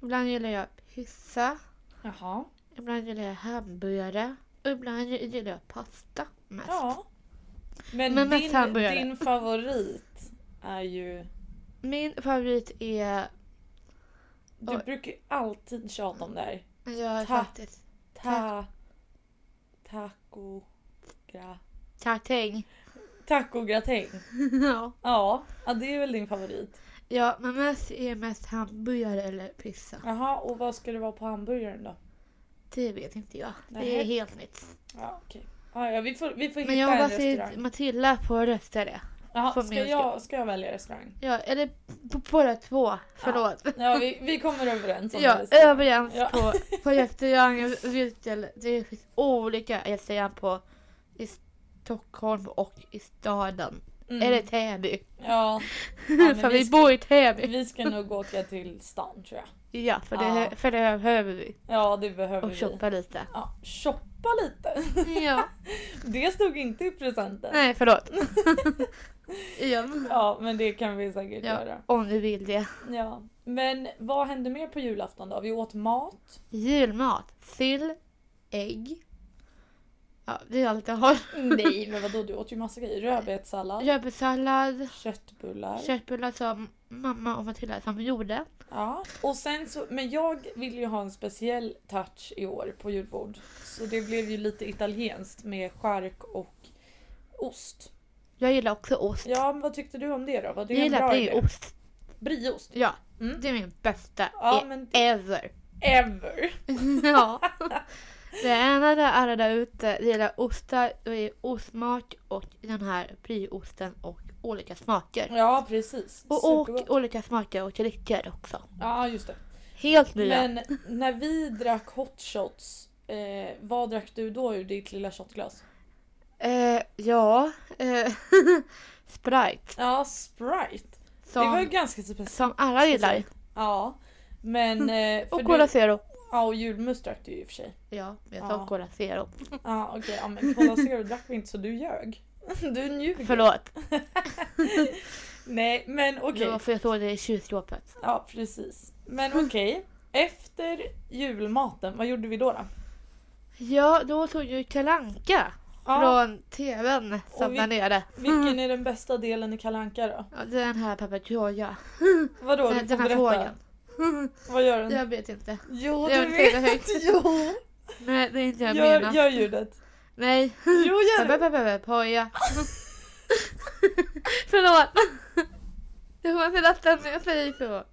Speaker 3: Ibland gillar jag pizza.
Speaker 1: Jaha.
Speaker 3: Ibland gillar jag hamburgare. Och ibland gillar jag pasta mest.
Speaker 1: Ja. Men,
Speaker 3: Alltså. Men mest
Speaker 1: din,
Speaker 3: hamburgare.
Speaker 1: din favorit är ju...
Speaker 3: Min favorit är...
Speaker 1: Du
Speaker 3: Oj.
Speaker 1: brukar ju alltid tjata om det här.
Speaker 3: Jag är
Speaker 1: Ta-
Speaker 3: faktiskt...
Speaker 1: Ta... Taco... Gra,
Speaker 3: Tartäng.
Speaker 1: tacogratäng.
Speaker 3: ja.
Speaker 1: Ja, ja, det är väl din favorit.
Speaker 3: ja, men mest är mest hamburgare eller pizza.
Speaker 1: Jaha, och vad ska det vara på hamburgaren då?
Speaker 3: Det vet inte jag. Det är
Speaker 1: Nej.
Speaker 3: helt nytt.
Speaker 1: Ja, okej. Ja, ja, vi får, vi får hitta
Speaker 3: Men jag
Speaker 1: en
Speaker 3: hoppas att
Speaker 1: restaurang.
Speaker 3: Matilda får rösta det.
Speaker 1: Jaha,
Speaker 3: får
Speaker 1: ska,
Speaker 3: min
Speaker 1: jag, ska jag välja restaurang?
Speaker 3: Ja, eller b- båda två. Förlåt.
Speaker 1: Ja, vi, vi kommer överens
Speaker 3: Ja,
Speaker 1: om restaurang.
Speaker 3: överens
Speaker 1: Ja.
Speaker 3: på, på restaurang. vilken- Det finns olika restauranger på i Stockholm och i staden.
Speaker 1: Mm.
Speaker 3: Eller Täby.
Speaker 1: Ja, men
Speaker 3: för vi,
Speaker 1: vi ska-
Speaker 3: bor i Täby.
Speaker 1: vi ska nog åka till stan tror jag.
Speaker 3: Ja, för det,
Speaker 1: Ja.
Speaker 3: för det behöver vi.
Speaker 1: Ja, det behöver
Speaker 3: Och
Speaker 1: vi.
Speaker 3: shoppa lite.
Speaker 1: Ja, shoppa lite.
Speaker 3: Ja,
Speaker 1: Det stod inte i presenten.
Speaker 3: nej förlåt. Igen.
Speaker 1: Ja, men det kan vi säkert göra.
Speaker 3: Ja, om du vill det.
Speaker 1: Ja, men vad hände mer på julafton då? Vi åt mat.
Speaker 3: Julmat. Sill, ägg. Ja, det är allt jag har.
Speaker 1: Nej, men vadå? Du åt ju massa grejer. Rödbetssallad,
Speaker 3: Rödbetssallad.
Speaker 1: köttbullar.
Speaker 3: Köttbullar som mamma och Matilda som gjorde.
Speaker 1: Ja. Och sen så, men jag ville ju ha en speciell touch i år på julbord. Så det blev ju lite italienskt med skärk och ost.
Speaker 3: Jag gillar också ost.
Speaker 1: Ja, men vad tyckte du om det då? Var det
Speaker 3: jag
Speaker 1: en
Speaker 3: gillar
Speaker 1: bra idé?
Speaker 3: brieost.
Speaker 1: Brieost?
Speaker 3: Ja,
Speaker 1: Mm.
Speaker 3: det är min bästa
Speaker 1: Ja,
Speaker 3: e-
Speaker 1: men
Speaker 3: ever.
Speaker 1: ever!
Speaker 3: ja. Det enda där alla där ute gillar ostar, det är ostmat och den här brieosten och olika smaker.
Speaker 1: Ja, precis.
Speaker 3: Och, och
Speaker 1: Supergott.
Speaker 3: olika smaker och drycker också.
Speaker 1: Ja, just det.
Speaker 3: Helt nya.
Speaker 1: Men när vi drack hot shots, eh, vad drack du då ur ditt lilla shotglas?
Speaker 3: Eh, ja. Eh, Sprite.
Speaker 1: Ja, Sprite. Det var ju
Speaker 3: Som,
Speaker 1: ganska speciellt.
Speaker 3: som alla gillar.
Speaker 1: Ja. Men... eh, för
Speaker 3: Mm. Och Cola
Speaker 1: du,
Speaker 3: Zero.
Speaker 1: Ja, och julmust drack du ju i och för sig.
Speaker 3: Ja, jag
Speaker 1: Ja.
Speaker 3: sa Cola Zero.
Speaker 1: Ja, okej. ja, men Cola Zero drack vi inte så du ljög. Du ljuger.
Speaker 3: Förlåt.
Speaker 1: Nej men okej.
Speaker 3: Det var för jag såg det i kylskåpet.
Speaker 1: Ja precis. Men okej. Efter julmaten, vad gjorde vi då? då?
Speaker 3: Ja, då såg ju Kalle Anka
Speaker 1: Ja,
Speaker 3: från tvn som
Speaker 1: vi-
Speaker 3: där nere.
Speaker 1: vilken är den bästa delen i Kalle Anka då?
Speaker 3: Ja, Den här papegojan.
Speaker 1: Vadå?
Speaker 3: Den,
Speaker 1: Du får
Speaker 3: den här
Speaker 1: berätta.
Speaker 3: frågan.
Speaker 1: Vad gör den?
Speaker 3: Jag vet inte.
Speaker 1: Jo
Speaker 3: jag
Speaker 1: du
Speaker 3: vill
Speaker 1: vet!
Speaker 3: säga det högt.
Speaker 1: Jo!
Speaker 3: Nej, det är inte jag
Speaker 1: Gör,
Speaker 3: menar.
Speaker 1: gör ljudet.
Speaker 3: Nej.
Speaker 1: Jo gör det!
Speaker 3: Papegoja. Förlåt. Det var förlåten när jag säger så.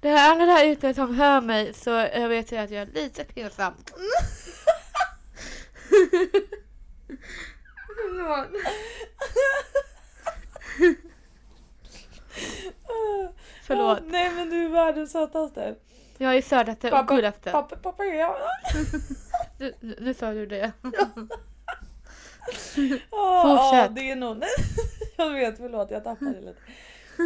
Speaker 3: Det här alla där ute som hör mig så jag vet ju att jag är lite pinsam. Förlåt.
Speaker 1: Åh, Ah.
Speaker 3: Förlåt.
Speaker 1: nej men du är världens sötaste.
Speaker 3: Jag är sötaste och
Speaker 1: Pappa-
Speaker 3: gulligaste.
Speaker 1: Pappa, pappa, ja.
Speaker 3: Nu- nu- Nu sa du det.
Speaker 1: Ja,
Speaker 3: Fortsätt.
Speaker 1: ja, det är nog... Nej, jag vet, förlåt jag tappade lite.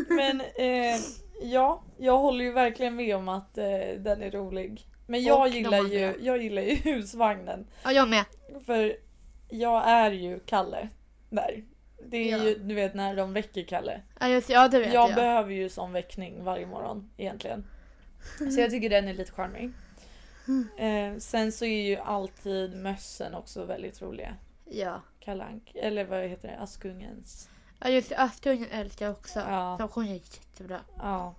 Speaker 1: Men eh, ja, jag håller ju verkligen med om att eh, den är rolig. Men jag
Speaker 3: Och
Speaker 1: gillar,
Speaker 3: de
Speaker 1: ju,
Speaker 3: andra.
Speaker 1: jag gillar ju husvagnen.
Speaker 3: Ja, jag med.
Speaker 1: För jag är ju Kalle där. Det är
Speaker 3: Ja.
Speaker 1: ju, du vet när de väcker Kalle.
Speaker 3: Ja, just, ja det vet
Speaker 1: Jag,
Speaker 3: jag.
Speaker 1: behöver ju sån väckning varje morgon egentligen. Så jag tycker den är lite charmig.
Speaker 3: Mm.
Speaker 1: Eh, sen så är ju alltid mössen också väldigt roliga.
Speaker 3: ja.
Speaker 1: Kalank, eller vad heter det? Askungens.
Speaker 3: ja, just det. Astungen älskar jag också.
Speaker 1: Ja.
Speaker 3: De sjunger jättebra.
Speaker 1: Ja.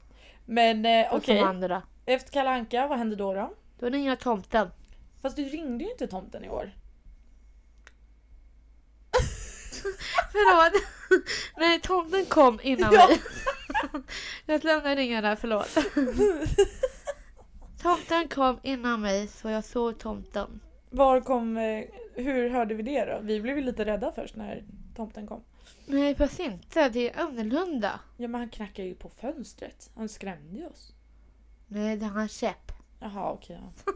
Speaker 1: Men eh,
Speaker 3: Och
Speaker 1: okej,
Speaker 3: som andra.
Speaker 1: efter Kalanka, vad hände då då?
Speaker 3: Då ringer tomten.
Speaker 1: Fast du ringde ju inte tomten i år.
Speaker 3: Förlåt. Nej, tomten kom innan
Speaker 1: Ja.
Speaker 3: mig. Jag lämnar ringarna, förlåt. Tomten kom innan mig så jag såg tomten.
Speaker 1: Var kom, eh, hur hörde vi det då? Vi blev ju lite rädda först när tomten kom.
Speaker 3: Nej, fast inte. Det är annorlunda.
Speaker 1: Ja men han knackade ju på fönstret. Han skrämde ju oss.
Speaker 3: Nej, det har en käpp.
Speaker 1: Jaha okej. ja.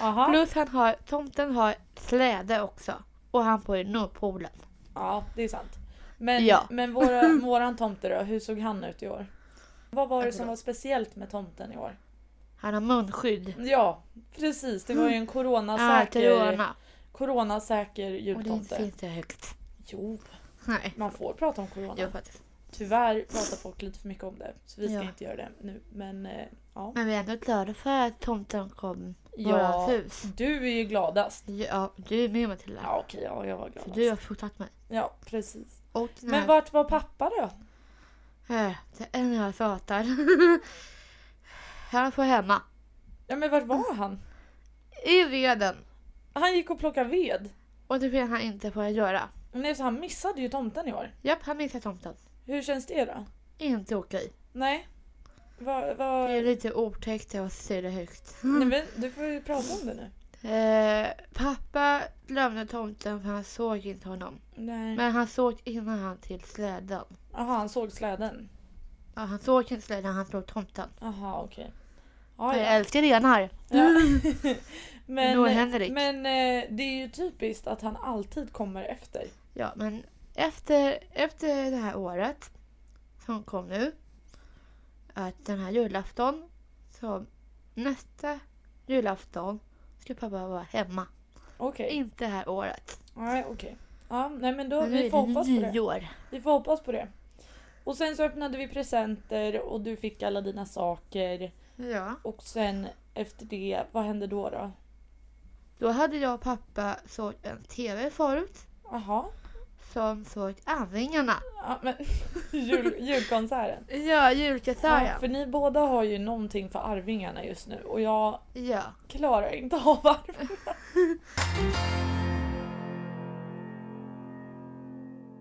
Speaker 1: Aha.
Speaker 3: Plus han har, tomten har släde också. Och han bor i Nordpolen.
Speaker 1: Ja, det är sant. Men,
Speaker 3: Ja.
Speaker 1: men våra, våran tomte då, hur såg han ut i år? Vad var det
Speaker 3: Jag
Speaker 1: som
Speaker 3: tror-
Speaker 1: var speciellt med tomten i år?
Speaker 3: Han har munskydd.
Speaker 1: Ja, precis. Det var ju en
Speaker 3: Ah,
Speaker 1: coronasäker,
Speaker 3: corona.
Speaker 1: coronasäker
Speaker 3: Och det
Speaker 1: jultomte.
Speaker 3: finns inte högt.
Speaker 1: Jo,
Speaker 3: Nej.
Speaker 1: man får prata om corona.
Speaker 3: Jo, faktiskt.
Speaker 1: Tyvärr pratar folk lite för mycket om det. Så vi ska
Speaker 3: Ja.
Speaker 1: inte göra det nu. Men eh, ja.
Speaker 3: Men vi är ändå glada för att tomten kom i
Speaker 1: Ja.
Speaker 3: vårat hus.
Speaker 1: Du är ju gladast.
Speaker 3: Ja, du är med Matilda.
Speaker 1: Ja okej, ja, jag var
Speaker 3: För du
Speaker 1: gladast.
Speaker 3: har fotat mig.
Speaker 1: Ja precis.
Speaker 3: Och den
Speaker 1: Men
Speaker 3: här-
Speaker 1: vart var pappa då?
Speaker 3: Eh, Det är när jag pratar. Han får hemma.
Speaker 1: Ja men vart var han?
Speaker 3: I veden.
Speaker 1: Han gick och plockade ved.
Speaker 3: Och det vill han inte få göra.
Speaker 1: Nej så han missade ju tomten i år.
Speaker 3: Japp, han missar tomten.
Speaker 1: Hur känns det då?
Speaker 3: Inte okej.
Speaker 1: Nej. Va,
Speaker 3: Det
Speaker 1: va...
Speaker 3: är lite otäckt att säga det högt.
Speaker 1: Nej, men du får ju prata om det nu.
Speaker 3: Eh, pappa lämnade tomten för han såg inte honom.
Speaker 1: Nej.
Speaker 3: Men han såg innan han till släden.
Speaker 1: Aha, han såg släden.
Speaker 3: Ja, han såg inte släden, han såg tomten.
Speaker 1: Aha, okej.
Speaker 3: Jag
Speaker 1: Ja, ja.
Speaker 3: älskar renar.
Speaker 1: ja.
Speaker 3: äh, mm. Nå,
Speaker 1: men
Speaker 3: Henrik.
Speaker 1: men eh, det är ju typiskt att han alltid kommer efter.
Speaker 3: Ja, men efter, efter det här året som kom nu, att den här julafton, så nästa julafton ska pappa vara hemma.
Speaker 1: Okej.
Speaker 3: Inte det här året.
Speaker 1: Nej, okej. Ja, nej men då,
Speaker 3: Men nu är
Speaker 1: vi
Speaker 3: det
Speaker 1: får hoppas på det.
Speaker 3: nyår.
Speaker 1: Vi får hoppas på det. Och sen så öppnade vi presenter och du fick alla dina saker.
Speaker 3: Ja.
Speaker 1: Och sen efter det, vad hände då då?
Speaker 3: Då hade jag och pappa såg en TV förut
Speaker 1: Aha.
Speaker 3: som såg Arvingarna.
Speaker 1: Ja, men jul, julkonserten.
Speaker 3: Ja,
Speaker 1: Ja,
Speaker 3: julkonserten.
Speaker 1: för ni båda har ju någonting för Arvingarna just nu och jag
Speaker 3: Ja.
Speaker 1: klarar inte av Arvingarna.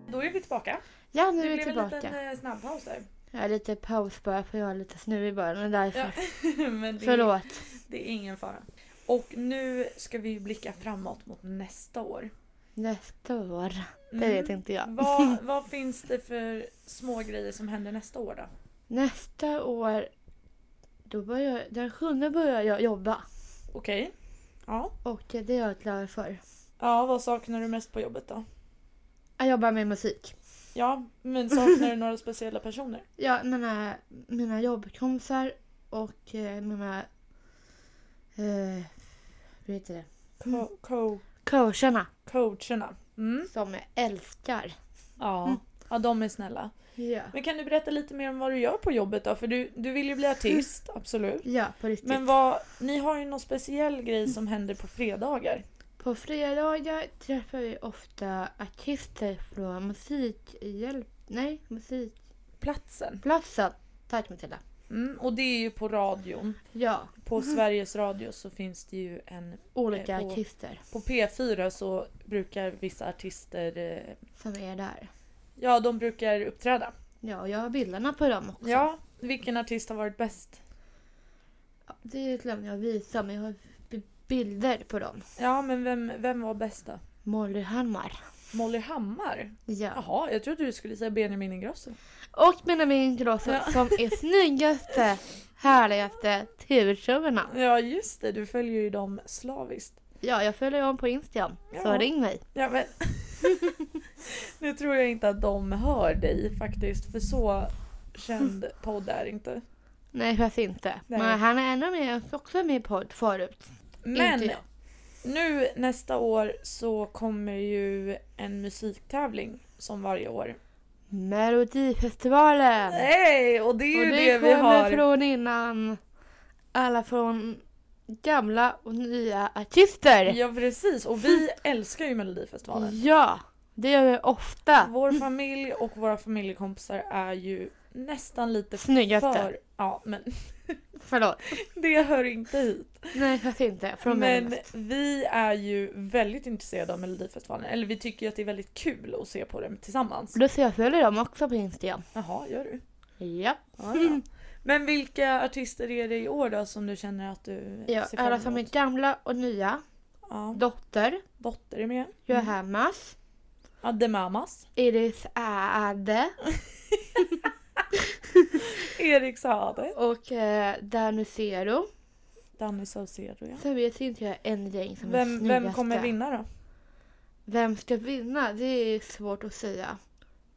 Speaker 1: Då är vi tillbaka.
Speaker 3: Ja, nu
Speaker 1: Det
Speaker 3: är vi
Speaker 1: blev en liten
Speaker 3: tillbaka.
Speaker 1: eh, snabbpaus där.
Speaker 3: Jag är lite paus bara för jag är lite snuvig i början. men Därför.
Speaker 1: Ja, Men det, är,
Speaker 3: Förlåt.
Speaker 1: det är ingen fara. Och nu ska vi blicka framåt mot nästa år.
Speaker 3: Nästa år. Det
Speaker 1: Mm.
Speaker 3: vet inte jag.
Speaker 1: Vad, vad finns det för små grejer som händer nästa år då?
Speaker 3: Nästa år, då börjar, den sjunde börjar jag jobba.
Speaker 1: Okej. Ja.
Speaker 3: Och det är jag glad för.
Speaker 1: ja, vad saknar du mest på jobbet då?
Speaker 3: Jag jobbar med musik.
Speaker 1: Ja, men saknar du några speciella personer?
Speaker 3: Ja, mina, mina jobbkompisar och eh, mina... Eh, hur heter det?
Speaker 1: Co- co-
Speaker 3: Coacherna
Speaker 1: coacherna. Mm.
Speaker 3: som jag älskar.
Speaker 1: Ja.
Speaker 3: Mm.
Speaker 1: Ja, de är snälla.
Speaker 3: Ja.
Speaker 1: Men kan du berätta lite mer om vad du gör på jobbet då? För du, du vill ju bli artist, absolut.
Speaker 3: Ja, på riktigt.
Speaker 1: Men vad, ni har ju någon speciell grej som händer på fredagar.
Speaker 3: På fredagar träffar vi ofta artister från Musikhjälp... Nej,
Speaker 1: Platsen.
Speaker 3: Musikplatsen. Tack Matilda.
Speaker 1: Mm, och det är ju på radion.
Speaker 3: Ja,
Speaker 1: På Sveriges Radio så finns det ju en...
Speaker 3: olika
Speaker 1: Eh, på-
Speaker 3: artister
Speaker 1: På P4 så brukar vissa artister... eh,
Speaker 3: som är där.
Speaker 1: Ja, de brukar uppträda.
Speaker 3: Ja, och jag har bilderna på dem också.
Speaker 1: Ja, vilken artist har varit bäst?
Speaker 3: Ja, Det glömde jag visa, men jag har b- bilder på dem.
Speaker 1: Ja, men vem, vem var bäst då?
Speaker 3: Molly Hammar.
Speaker 1: Molly Hammar?
Speaker 3: Ja.
Speaker 1: Jaha, jag trodde du skulle säga Benjamin Ingrosso.
Speaker 3: Och Benjamin Ingrosso
Speaker 1: Ja.
Speaker 3: som är snyggaste, härligaste tv-showerna.
Speaker 1: Ja, just det. Du följer ju dem slaviskt.
Speaker 3: Ja, jag följer honom på Instagram. Så
Speaker 1: Ja.
Speaker 3: ring mig.
Speaker 1: Ja, men... nu tror jag inte att de hör dig faktiskt, för så känd podd är inte.
Speaker 3: Nej, faktiskt inte.
Speaker 1: Nej.
Speaker 3: Men han är ändå med, också med i podd förut.
Speaker 1: Men
Speaker 3: Inte jag.
Speaker 1: nu nästa år så kommer ju en musiktävling som varje år.
Speaker 3: Melodifestivalen!
Speaker 1: Nej, och det är ju
Speaker 3: och
Speaker 1: det,
Speaker 3: det
Speaker 1: vi
Speaker 3: kommer
Speaker 1: har.
Speaker 3: från innan alla från gamla och nya artister.
Speaker 1: Ja, precis. Och vi älskar ju Melodifestivalen.
Speaker 3: Ja, det gör vi ofta.
Speaker 1: Vår familj och våra familjekompisar är ju nästan lite
Speaker 3: Snyggaste.
Speaker 1: för... Ja, men
Speaker 3: Förlåt. det...
Speaker 1: det hör inte hit.
Speaker 3: Nej, faktiskt inte. Från
Speaker 1: Men
Speaker 3: Melodifestivalen.
Speaker 1: vi är ju väldigt intresserade av Melodifestivalen. Eller vi tycker ju att det är väldigt kul att se på den tillsammans.
Speaker 3: Då ser jag följer dem också på Instagram.
Speaker 1: Jaha, gör du?
Speaker 3: Ja.
Speaker 1: Ja, ja. Men vilka artister är det i år då som du känner att du
Speaker 3: ja
Speaker 1: ser
Speaker 3: alla
Speaker 1: fram
Speaker 3: som är
Speaker 1: emot?
Speaker 3: gamla och nya.
Speaker 1: Ja,
Speaker 3: Dotter,
Speaker 1: Dotter är med.
Speaker 3: Johannes,
Speaker 1: Ademamas.
Speaker 3: Iris Ade
Speaker 1: Erik Saade.
Speaker 3: och eh, Danny Zero.
Speaker 1: Danny Saucedo ja.
Speaker 3: Sen vet inte jag en gäng som är
Speaker 1: Vem,
Speaker 3: snyggaste.
Speaker 1: vem kommer vinna då?
Speaker 3: Vem ska vinna? Det är svårt att säga.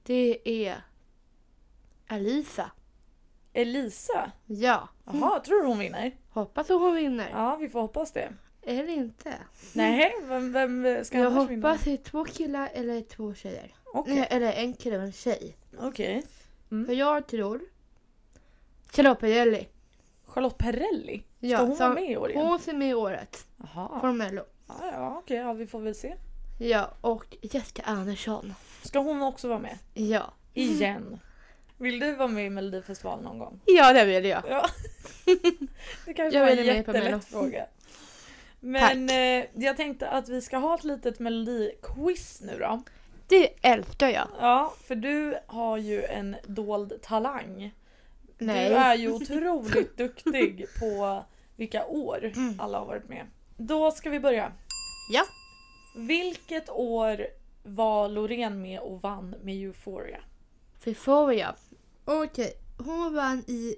Speaker 3: Det är Alisa.
Speaker 1: Elisa?
Speaker 3: Ja,
Speaker 1: Jaha,
Speaker 3: Mm.
Speaker 1: tror du hon vinner?
Speaker 3: hoppas att hon vinner.
Speaker 1: Ja, vi får hoppas det.
Speaker 3: Eller inte.
Speaker 1: Nej, vem, vem ska
Speaker 3: jag
Speaker 1: annars
Speaker 3: hoppas
Speaker 1: vinna?
Speaker 3: det är två killar eller två tjejer.
Speaker 1: Okej.
Speaker 3: Nej, eller en kille och en tjej.
Speaker 1: Okej.
Speaker 3: För jag tror Charlotte Perrelli.
Speaker 1: Charlotte Perrelli? Ska
Speaker 3: Ja,
Speaker 1: hon
Speaker 3: så-
Speaker 1: vara med i år igen?
Speaker 3: Hon som är i året
Speaker 1: Jaha.
Speaker 3: från Mello.
Speaker 1: Ja, ja, okej. Ja, vi får väl se.
Speaker 3: Ja, och Jessica Andersson.
Speaker 1: Ska hon också vara med?
Speaker 3: Ja.
Speaker 1: Igen. Vill du vara med i Melodifestivalen någon gång?
Speaker 3: Ja, det vill jag.
Speaker 1: Ja. Det kanske
Speaker 3: Jag
Speaker 1: var en
Speaker 3: vill med på Mello.
Speaker 1: jättelätt fråga. Men eh, jag tänkte att vi ska ha ett litet melodiquiz nu då.
Speaker 3: Det älskar jag.
Speaker 1: Ja, för du har ju en dold talang.
Speaker 3: Nej.
Speaker 1: Du är ju otroligt duktig på vilka år
Speaker 3: Mm.
Speaker 1: alla har varit med. Då ska vi börja.
Speaker 3: Ja.
Speaker 1: Vilket år var Loreen med och vann med Euphoria?
Speaker 3: Euphoria. Okej, hon vann i...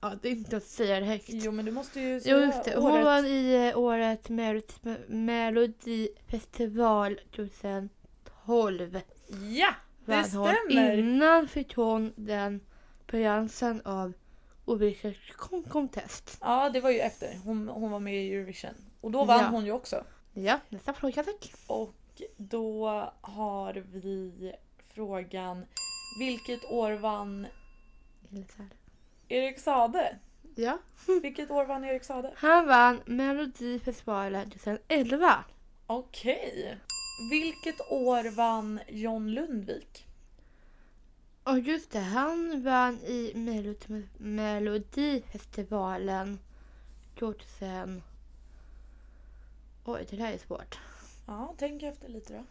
Speaker 3: Ja, det är inte att säga det högt.
Speaker 1: Jo men du måste ju
Speaker 3: Jo,
Speaker 1: säga
Speaker 3: just det. Hon
Speaker 1: året.
Speaker 3: vann i eh, året Melod- Melodifestival 2012.
Speaker 1: Ja!
Speaker 3: Vann Hon.
Speaker 1: stämmer.
Speaker 3: Innan fick hon den chansen av olika kon- contest.
Speaker 1: Ja det var ju efter. Hon, hon var med i Eurovision. Och då vann
Speaker 3: Ja.
Speaker 1: hon ju också.
Speaker 3: Ja, nästa fråga tack.
Speaker 1: Och då har vi frågan Vilket år vann
Speaker 3: Eller så här.
Speaker 1: Erik Sade?
Speaker 3: Ja.
Speaker 1: Vilket år vann Erik Sade?
Speaker 3: Han vann Melodifestivalen 2011.
Speaker 1: Okej. Vilket år vann John Lundvik?
Speaker 3: Och just det, han vann i Melod- Melodifestivalen 2000... Oj, det där är svårt.
Speaker 1: Ja, tänk efter lite då.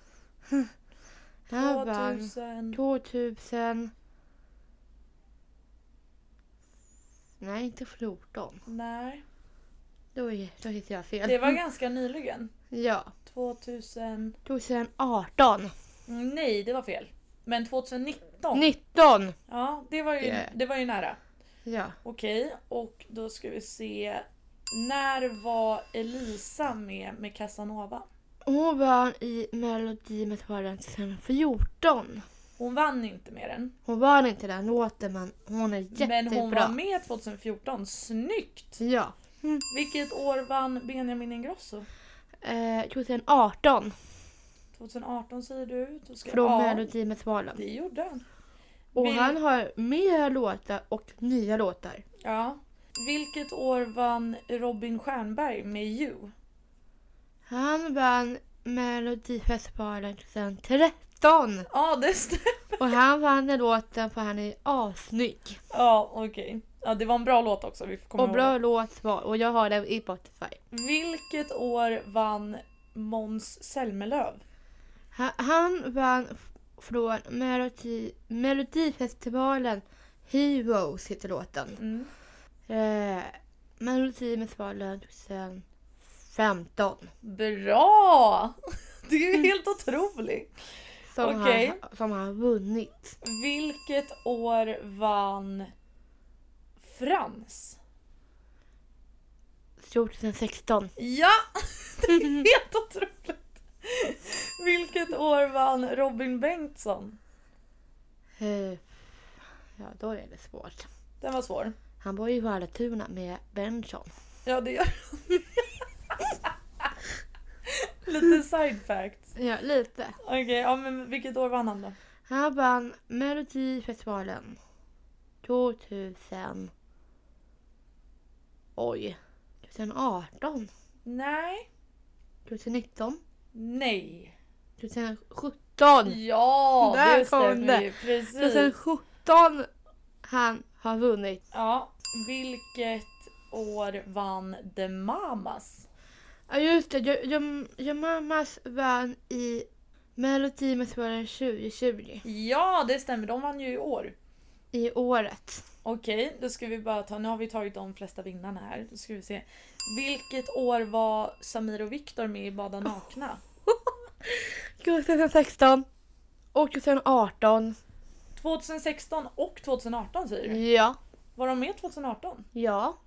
Speaker 3: Han vann
Speaker 1: 2000...
Speaker 3: 2000... Nej, inte 14.
Speaker 1: Nej,
Speaker 3: Då, är, då hittar jag fel.
Speaker 1: det var ganska nyligen.
Speaker 3: Ja,
Speaker 1: 2000...
Speaker 3: 2018.
Speaker 1: Mm, Nej, det var fel. Men 2019.
Speaker 3: 19!
Speaker 1: Ja, det var ju,
Speaker 3: Yeah.
Speaker 1: det var ju nära.
Speaker 3: Ja.
Speaker 1: Okej, och då ska vi se. När var Elisa med med Casanova?
Speaker 3: Hon vann i Melodifestivalen 2014.
Speaker 1: Hon vann inte med den,
Speaker 3: Hon vann inte den låten, men hon är jättebra.
Speaker 1: men hon var med 2014. Snyggt!
Speaker 3: Ja.
Speaker 1: Vilket år vann Benjamin Ingrosso?
Speaker 3: Eh, 2018.
Speaker 1: 2018 säger du. Då ska
Speaker 3: Från
Speaker 1: ja,
Speaker 3: Melodifestivalen.
Speaker 1: Det gjorde han.
Speaker 3: Och
Speaker 1: Vil-
Speaker 3: han har mer låtar och nya låtar.
Speaker 1: Ja. Vilket år vann Robin Stjernberg med You?
Speaker 3: Han vann Melodifestivalen 2013
Speaker 1: Ja, det stämmer.
Speaker 3: och han vann den låten för han är assnygg.
Speaker 1: Ja, okej. Ja, det var en bra låt också. Vi får komma
Speaker 3: Och bra
Speaker 1: ihåg.
Speaker 3: låt var och jag har den i Spotify.
Speaker 1: Vilket år vann Måns Zelmerlöw?
Speaker 3: Han, han vann f- från Melodi, Melodifestivalen Heroes heter låten.
Speaker 1: Mm.
Speaker 3: Eh, Melodifestivalen 2015.
Speaker 1: Bra! Det
Speaker 3: Mm.
Speaker 1: är ju helt otroligt.
Speaker 3: Som,
Speaker 1: Okej.
Speaker 3: han, som han vunnit.
Speaker 1: Vilket år vann Frans?
Speaker 3: 2016.
Speaker 1: Ja! Det är helt otroligt. Vilket år vann Robin Bengtsson?
Speaker 3: Eh, ja, då är det svårt.
Speaker 1: Den var svår.
Speaker 3: Han var ju i Vallentuna med Benson.
Speaker 1: Ja, det gör Lite side facts.
Speaker 3: Ja, lite.
Speaker 1: Okej, ja, men vilket år vann han då?
Speaker 3: Han vann Melodifestivalen 2000... Oj. 2018?
Speaker 1: Nej.
Speaker 3: 2019?
Speaker 1: Nej.
Speaker 3: 2017!
Speaker 1: Ja,
Speaker 3: Där
Speaker 1: det
Speaker 3: kom
Speaker 1: stämmer
Speaker 3: det.
Speaker 1: ju. Precis.
Speaker 3: 2017 han har vunnit.
Speaker 1: Ja, vilket år vann The Mamas?
Speaker 3: Ja just det, jag, jag, jag mammas vann i Melodifestivalen 2020.
Speaker 1: Ja, det stämmer. De vann ju i år.
Speaker 3: I året.
Speaker 1: Okej, då ska vi bara ta... Nu har vi tagit de flesta vinnarna här. Då ska vi se. Vilket år var Samir och Viktor med i Bada nakna?
Speaker 3: 2016 och 2018.
Speaker 1: 2016 och 2018 säger du?
Speaker 3: Ja.
Speaker 1: Var de med 2018?
Speaker 3: Ja,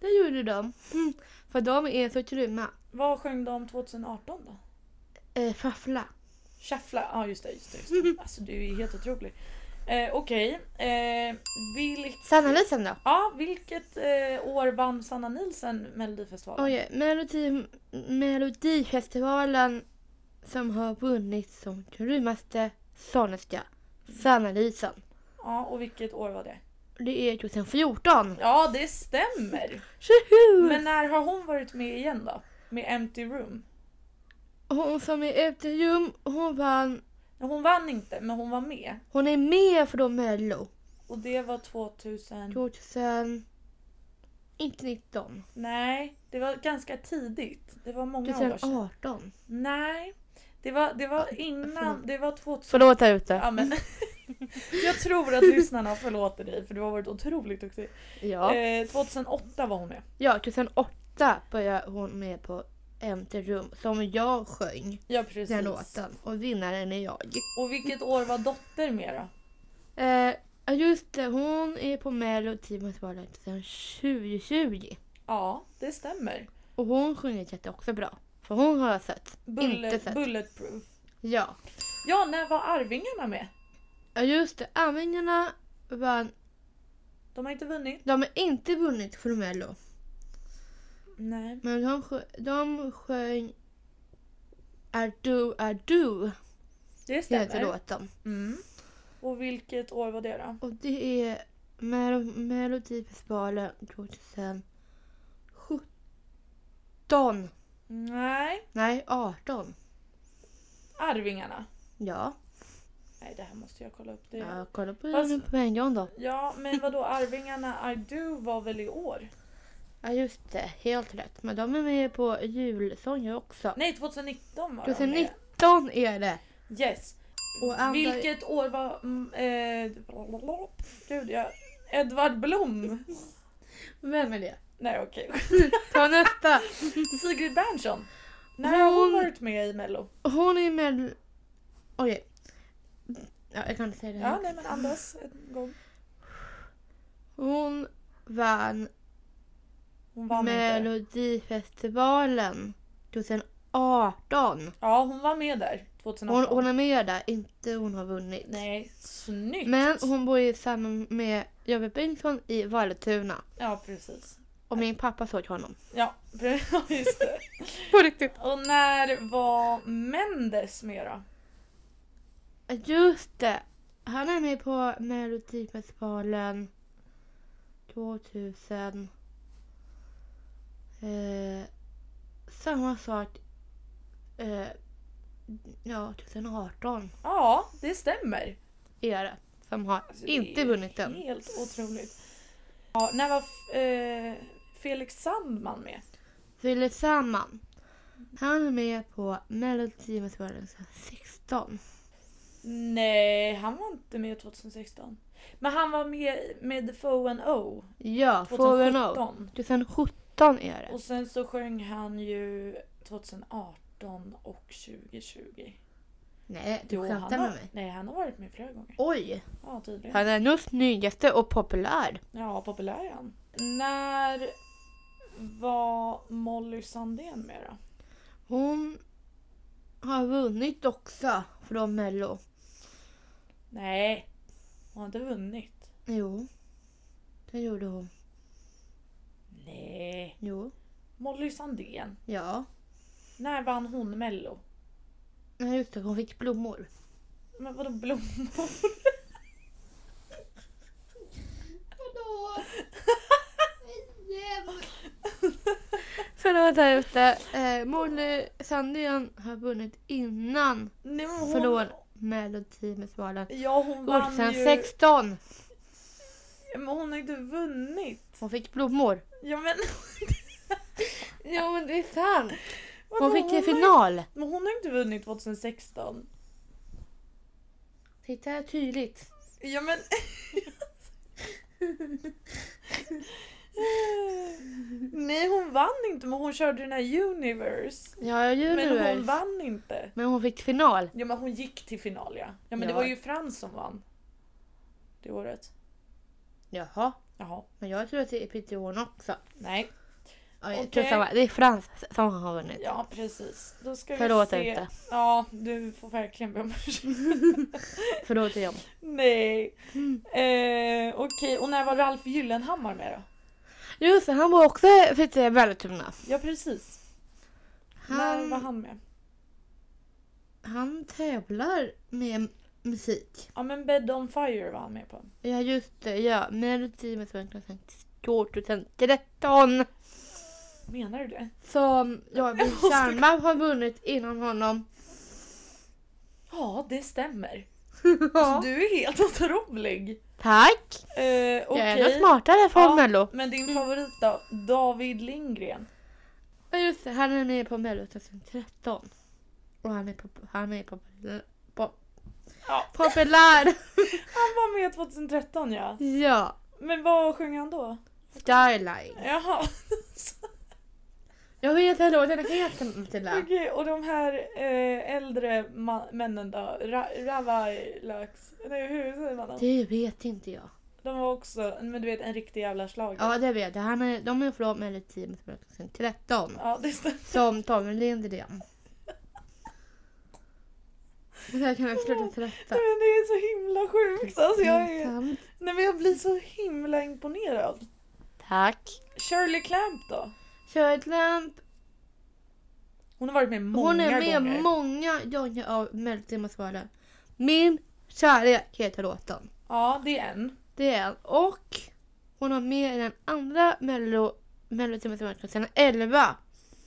Speaker 3: det gjorde de. Mm, För de är så grymma.
Speaker 1: Vad sjöng de 2018 då?
Speaker 3: Eh, faffla.
Speaker 1: Shuffla, ja just det. Just det, just det. Alltså du är helt otrolig. Eh, Okej, eh, vilk,
Speaker 3: Sannolisen då?
Speaker 1: ja, vilket eh, år vann Sanna Nielsen Melodifestivalen?
Speaker 3: Oj, Melodi, Melodifestivalen som har vunnit som grymmaste sångerska. Sannolisen.
Speaker 1: Ja, och vilket år var det?
Speaker 3: Det är 2014.
Speaker 1: Ja, det stämmer!
Speaker 3: Tjoho!
Speaker 1: Men när har hon varit med igen då? Med Empty Room?
Speaker 3: Hon som är efter Ljum, hon vann.
Speaker 1: Hon vann inte, men hon var med.
Speaker 3: Hon är med för då Mello.
Speaker 1: Och det var 2000...
Speaker 3: 2000... Inte 19.
Speaker 1: Nej, det var ganska tidigt. Det var många år sedan.
Speaker 3: 2018.
Speaker 1: Nej, det var, det var innan... Det var 2000...
Speaker 3: Förlåt där ute.
Speaker 1: Ja, men, jag tror att lyssnarna förlåter dig för du har varit otroligt duktig.
Speaker 3: Ja.
Speaker 1: Eh, 2008 var hon med.
Speaker 3: Ja, 2008 började hon med på Empty Room som jag sjöng
Speaker 1: Ja precis.
Speaker 3: den låten och vinnaren är jag.
Speaker 1: Och vilket år var Dotter med då?
Speaker 3: Eh, ja, just det, hon är på Melodifestivalen sedan 2020
Speaker 1: Ja, det stämmer.
Speaker 3: och hon sjunger jätte också bra. För hon har jag sett. Inte
Speaker 1: Bullet,
Speaker 3: sett.
Speaker 1: bulletproof.
Speaker 3: Ja.
Speaker 1: Ja, när var Arvingarna med?
Speaker 3: ja, just det, Arvingarna vann.
Speaker 1: De har inte vunnit.
Speaker 3: De har inte vunnit för Mello,
Speaker 1: Nej.
Speaker 3: men de, sjö- de sjöng Är du, är du,
Speaker 1: Det
Speaker 3: heter
Speaker 1: stämmer.
Speaker 3: låten.
Speaker 1: Mm. Och vilket år var det då?
Speaker 3: Och det är Mel- Melodifestivalen 2017.
Speaker 1: Nej,
Speaker 3: Nej, 18.
Speaker 1: Arvingarna.
Speaker 3: Ja,
Speaker 1: Nej, det här måste jag kolla upp. Det. Ja.
Speaker 3: jag kollar på
Speaker 1: Fast-
Speaker 3: den på en gång då.
Speaker 1: ja, men vadå Arvingarna I do var väl i år?
Speaker 3: Ja, just det. Helt rätt. Men de är med på julsånger också.
Speaker 1: Nej, 2019 var de med.
Speaker 3: 2019 är det.
Speaker 1: Yes.
Speaker 3: Och andra-
Speaker 1: Vilket år var... mm, Eh, gud, jag... Edvard Blom?
Speaker 3: Vem är det?
Speaker 1: Nej, okej.
Speaker 3: Ta nästa.
Speaker 1: Sigrid Bernson? När har hon
Speaker 3: Hon-
Speaker 1: varit med i Mello?
Speaker 3: Hon är med... Oj. Ja, jag kan inte säga det.
Speaker 1: Ja, nej men andas en gång.
Speaker 3: Hon vann
Speaker 1: Hon vann inte.
Speaker 3: Melodifestivalen 2018.
Speaker 1: Ja, hon var med där 2018.
Speaker 3: Hon, hon är med där, inte hon har vunnit.
Speaker 1: Nej, snyggt!
Speaker 3: Men hon bor ju samman med Jöbbe Bengtsson i Vallentuna.
Speaker 1: Ja, precis.
Speaker 3: Och min pappa såg honom.
Speaker 1: Ja, just det.
Speaker 3: På riktigt.
Speaker 1: Och när var Mendes med då?
Speaker 3: Just det. Han är med på Melodifestivalen 2000. Eh, samma sak. Eh, ja, 2018
Speaker 1: Ja, det stämmer.
Speaker 3: är det. Som har
Speaker 1: Alltså, det
Speaker 3: inte
Speaker 1: är
Speaker 3: vunnit den.
Speaker 1: Helt otroligt. Ja, när var f- eh, Felix Sandman med?
Speaker 3: Fyller samman. Han är med på Melodifestivalen 2016.
Speaker 1: Nej, han var inte med 2016. Men han var med med The Foe and O
Speaker 3: Ja, Four No.
Speaker 1: 2017.
Speaker 3: 2017 är det.
Speaker 1: Och sen så sjöng han ju 2018 och 2020.
Speaker 3: Nej, du
Speaker 1: Jo, han
Speaker 3: skämtar med
Speaker 1: har,
Speaker 3: mig.
Speaker 1: nej, han har varit med flera gånger.
Speaker 3: Oj!
Speaker 1: Ja, tydligen.
Speaker 3: Han är nog snyggaste och populär.
Speaker 1: Ja, populär är han. När var Molly Sandén med då?
Speaker 3: Hon har vunnit också från Mello.
Speaker 1: Nej, hon har inte vunnit.
Speaker 3: Jo, det gjorde hon.
Speaker 1: Nej.
Speaker 3: Jo,
Speaker 1: Molly Sandén.
Speaker 3: ja.
Speaker 1: När vann hon Mello?
Speaker 3: Nej, just det. Hon fick blommor.
Speaker 1: Men vadå blommor?
Speaker 3: Hallå! Förlåt där ute. Eh, Molly Sandén har vunnit innan
Speaker 1: Nej, men hon...
Speaker 3: från Melodifestivalen.
Speaker 1: Ja, hon vann ju...
Speaker 3: 2016.
Speaker 1: Men hon har inte vunnit.
Speaker 3: Hon fick blommor.
Speaker 1: Ja, men...
Speaker 3: Jo, men det är sant. Hon
Speaker 1: vadå,
Speaker 3: fick i
Speaker 1: har-
Speaker 3: final.
Speaker 1: Men hon har inte vunnit 2016.
Speaker 3: Titta här tydligt.
Speaker 1: Ja, men... Nej, hon vann inte, men hon körde den här Universe.
Speaker 3: Ja, jag gör
Speaker 1: Men hon
Speaker 3: det.
Speaker 1: vann inte.
Speaker 3: Men hon fick final.
Speaker 1: Ja, men hon gick till final, ja. Ja, men det
Speaker 3: Ja.
Speaker 1: var ju Frans som vann. Det året.
Speaker 3: Jaha.
Speaker 1: Jaha.
Speaker 3: Men jag tror att det är Piteån också.
Speaker 1: Nej.
Speaker 3: Ja, jag
Speaker 1: Okej.
Speaker 3: tror samma. Det är Frans som har vunnit.
Speaker 1: Ja, precis. Då ska
Speaker 3: Förlåt
Speaker 1: vi se.
Speaker 3: inte.
Speaker 1: Ja, du får verkligen be om ursäkt.
Speaker 3: Förlåt igen.
Speaker 1: Nej. Eh, Okej, och när var Ralf Gyllenhammar med då?
Speaker 3: Just det, han var också Piteå Vallentuna.
Speaker 1: Ja, precis. När var
Speaker 3: Han,
Speaker 1: han med?
Speaker 3: han tävlar med musik.
Speaker 1: Ja, men Bed on Fire var han med på.
Speaker 3: Ja just det, ja. Melodifestivalen 2013.
Speaker 1: Menar du det?
Speaker 3: Som ja, min
Speaker 1: måste-
Speaker 3: Sandman har vunnit innan honom.
Speaker 1: Ja, det stämmer.
Speaker 3: Ja.
Speaker 1: Du är helt otrolig.
Speaker 3: Tack!
Speaker 1: Eh, Okej.
Speaker 3: Jag är nog smartare från
Speaker 1: Ja.
Speaker 3: Mello.
Speaker 1: Men din favorit då? David Lindgren.
Speaker 3: Ja just det, han är med på Mello 2013. Och han är, pop- han är populär. Pop-
Speaker 1: Ja.
Speaker 3: populär!
Speaker 1: Han var med 2013 ja.
Speaker 3: ja,
Speaker 1: Men vad sjöng han då?
Speaker 3: Starline.
Speaker 1: Jaha.
Speaker 3: Jag vet inte vad den heter Matilda.
Speaker 1: Okej, och de här eh, äldre ma- männen då? Ra- Ravailax? Nej, hur säger man dem?
Speaker 3: Det vet inte jag.
Speaker 1: De var också, men du vet en riktig jävla schlager.
Speaker 3: Ja det vet jag. Han är, de är från Melodifestivalen 2013.
Speaker 1: Ja, det stämmer.
Speaker 3: Som Tommy Lindgren. Det här kan jag sluta
Speaker 1: Men det
Speaker 3: trötta.
Speaker 1: är så himla sjukt alltså. Jag, är...
Speaker 3: Pinsamt.
Speaker 1: Nej, men jag blir så himla imponerad.
Speaker 3: Tack.
Speaker 1: Shirley Clamp då?
Speaker 3: Shirley
Speaker 1: Hon har varit med många
Speaker 3: Hon är med
Speaker 1: gånger.
Speaker 3: många gånger av Melodifestivalen. Min kärlek heter låten.
Speaker 1: ja, det är en.
Speaker 3: Det är en. Och hon har med i den andra Mello- Melodifestivalen 2011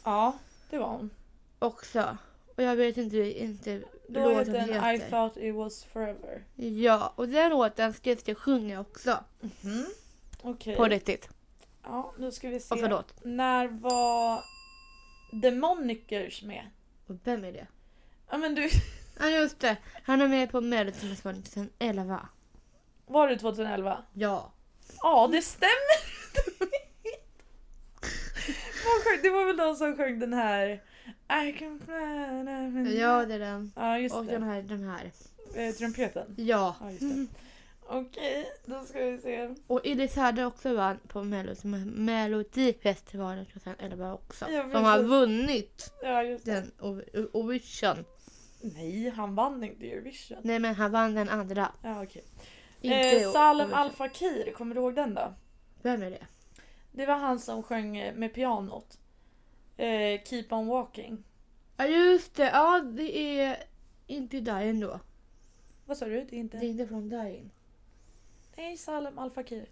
Speaker 1: Ja, det var hon.
Speaker 3: också. Och jag vet inte, inte
Speaker 1: Då heter
Speaker 3: låten
Speaker 1: den
Speaker 3: heter.
Speaker 1: I thought it was forever.
Speaker 3: Ja, och den låten ska jag ska sjunga också.
Speaker 1: Okej.
Speaker 3: Mm. På riktigt.
Speaker 1: Ja, nu ska vi se.
Speaker 3: Och förlåt.
Speaker 1: När var The Monikers med?
Speaker 3: Och vem är det?
Speaker 1: Ja men du,
Speaker 3: Ja just det, han är med på Melodifestivalen 2011.
Speaker 1: var det 2011?
Speaker 3: Ja.
Speaker 1: Ja, det stämmer! Vad sjukt, det var väl de som sjöng den här I can fly...
Speaker 3: Ja det är den.
Speaker 1: Ja, Mm. just
Speaker 3: Och den
Speaker 1: det.
Speaker 3: här, den här.
Speaker 1: Eh, trumpeten.
Speaker 3: Ja.
Speaker 1: Ja, just det. Okej, då ska vi se.
Speaker 3: Och Elis hade också vann på Melo- Melodifestivalen 2011 också.
Speaker 1: Ja,
Speaker 3: Som har
Speaker 1: precis.
Speaker 3: vunnit
Speaker 1: Ja, just det.
Speaker 3: den O- O- Eurovision.
Speaker 1: Nej, han vann inte Eurovision.
Speaker 3: Nej men han vann den andra.
Speaker 1: Ja, okej.
Speaker 3: Inte
Speaker 1: Eh, Salem
Speaker 3: Eurovision.
Speaker 1: Al Fakir, kommer du ihåg den då?
Speaker 3: Vem är det?
Speaker 1: Det var han som sjöng eh, med pianot. Eh, Keep on walking.
Speaker 3: Ja just det, ja det är inte Darin då.
Speaker 1: Vad sa du? Det är
Speaker 3: Det
Speaker 1: inte...
Speaker 3: är inte från Darin.
Speaker 1: Nej, Salem Al Fakir.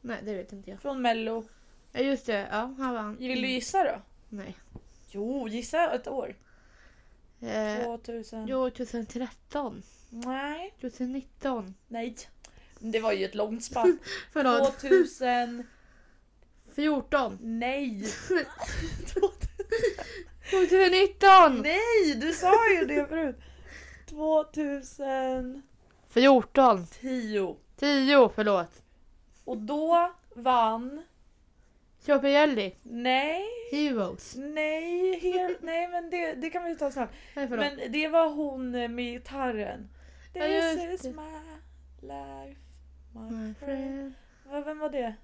Speaker 3: Nej det vet inte jag.
Speaker 1: Från Mello.
Speaker 3: Ja just det, ja han vann. Mm,
Speaker 1: Vill du gissa då?
Speaker 3: Nej.
Speaker 1: Jo, gissa ett år.
Speaker 3: Eh,
Speaker 1: 2000.
Speaker 3: jo 2013,
Speaker 1: Nej.
Speaker 3: 2019.
Speaker 1: Nej. Det var ju ett långt spann.
Speaker 3: Förlåt,
Speaker 1: 2000.
Speaker 3: 14.
Speaker 1: Nej.
Speaker 3: 2019!
Speaker 1: Nej, du sa ju det förut. 2010.
Speaker 3: 14. 10 förlåt.
Speaker 1: Och då vann...
Speaker 3: Chopielli.
Speaker 1: Nej,
Speaker 3: Heroes.
Speaker 1: nej, helt, nej men det, det kan vi ta snart.
Speaker 3: Nej förlåt.
Speaker 1: Men det var hon med gitarren.
Speaker 3: Ja,
Speaker 1: This
Speaker 3: just
Speaker 1: is
Speaker 3: det.
Speaker 1: my life, my,
Speaker 3: My
Speaker 1: friend.
Speaker 3: friend.
Speaker 1: Va- Vem var det?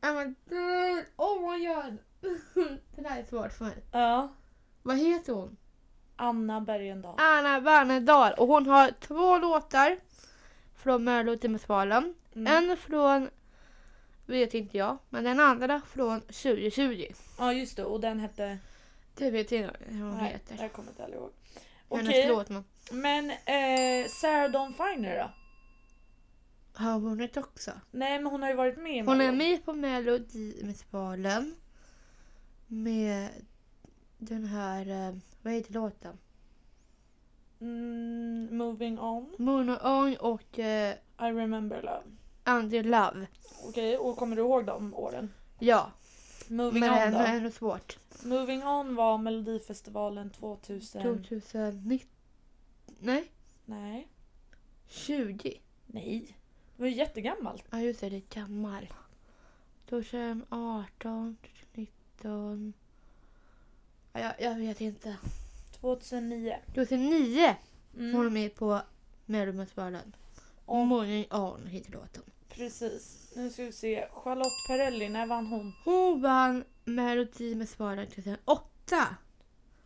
Speaker 3: Ja, men, mm, Åh my god. Det där är svårt för mig.
Speaker 1: Ja,
Speaker 3: Vad heter hon?
Speaker 1: Anna Bergendahl.
Speaker 3: Anna Wernerdal och hon har två låtar från Melodifestivalen.
Speaker 1: Mm.
Speaker 3: En från, vet inte jag, men den andra från 2020.
Speaker 1: Ja just det, och den hette...
Speaker 3: Det vet jag inte hur hon
Speaker 1: Nej,
Speaker 3: heter.
Speaker 1: Jag kommer inte heller ihåg.
Speaker 3: Hennes
Speaker 1: Okej,
Speaker 3: låt men
Speaker 1: men eh, Sarah Dawn Finer då?
Speaker 3: har hon vunnit också.
Speaker 1: Nej men hon har ju varit med i
Speaker 3: Hon är
Speaker 1: Mello.
Speaker 3: med på Melodifestivalen med den här, eh, vad heter låten?
Speaker 1: Mm, moving on,
Speaker 3: Moon och On och eh,
Speaker 1: I remember love.
Speaker 3: Andy Love.
Speaker 1: Okej, och kommer du ihåg de åren?
Speaker 3: Ja,
Speaker 1: Moving
Speaker 3: men det
Speaker 1: on
Speaker 3: är
Speaker 1: då?
Speaker 3: ändå svårt.
Speaker 1: Moving on var Melodifestivalen 2000...
Speaker 3: 2019, nej,
Speaker 1: Nej.
Speaker 3: 20.
Speaker 1: Nej. Det var ju jättegammalt.
Speaker 3: Ja just det, det är gammal. 2018, 2019... Ja, jag, jag vet inte.
Speaker 1: 2009.
Speaker 3: 2009
Speaker 1: Mm.
Speaker 3: var de med på Melodifestivalen.
Speaker 1: Och-
Speaker 3: Morning On heter låten.
Speaker 1: Precis. Nu ska vi se. Charlotte Perrelli, när vann hon?
Speaker 3: Hon vann Melodifestivalen 2008.
Speaker 1: Mm.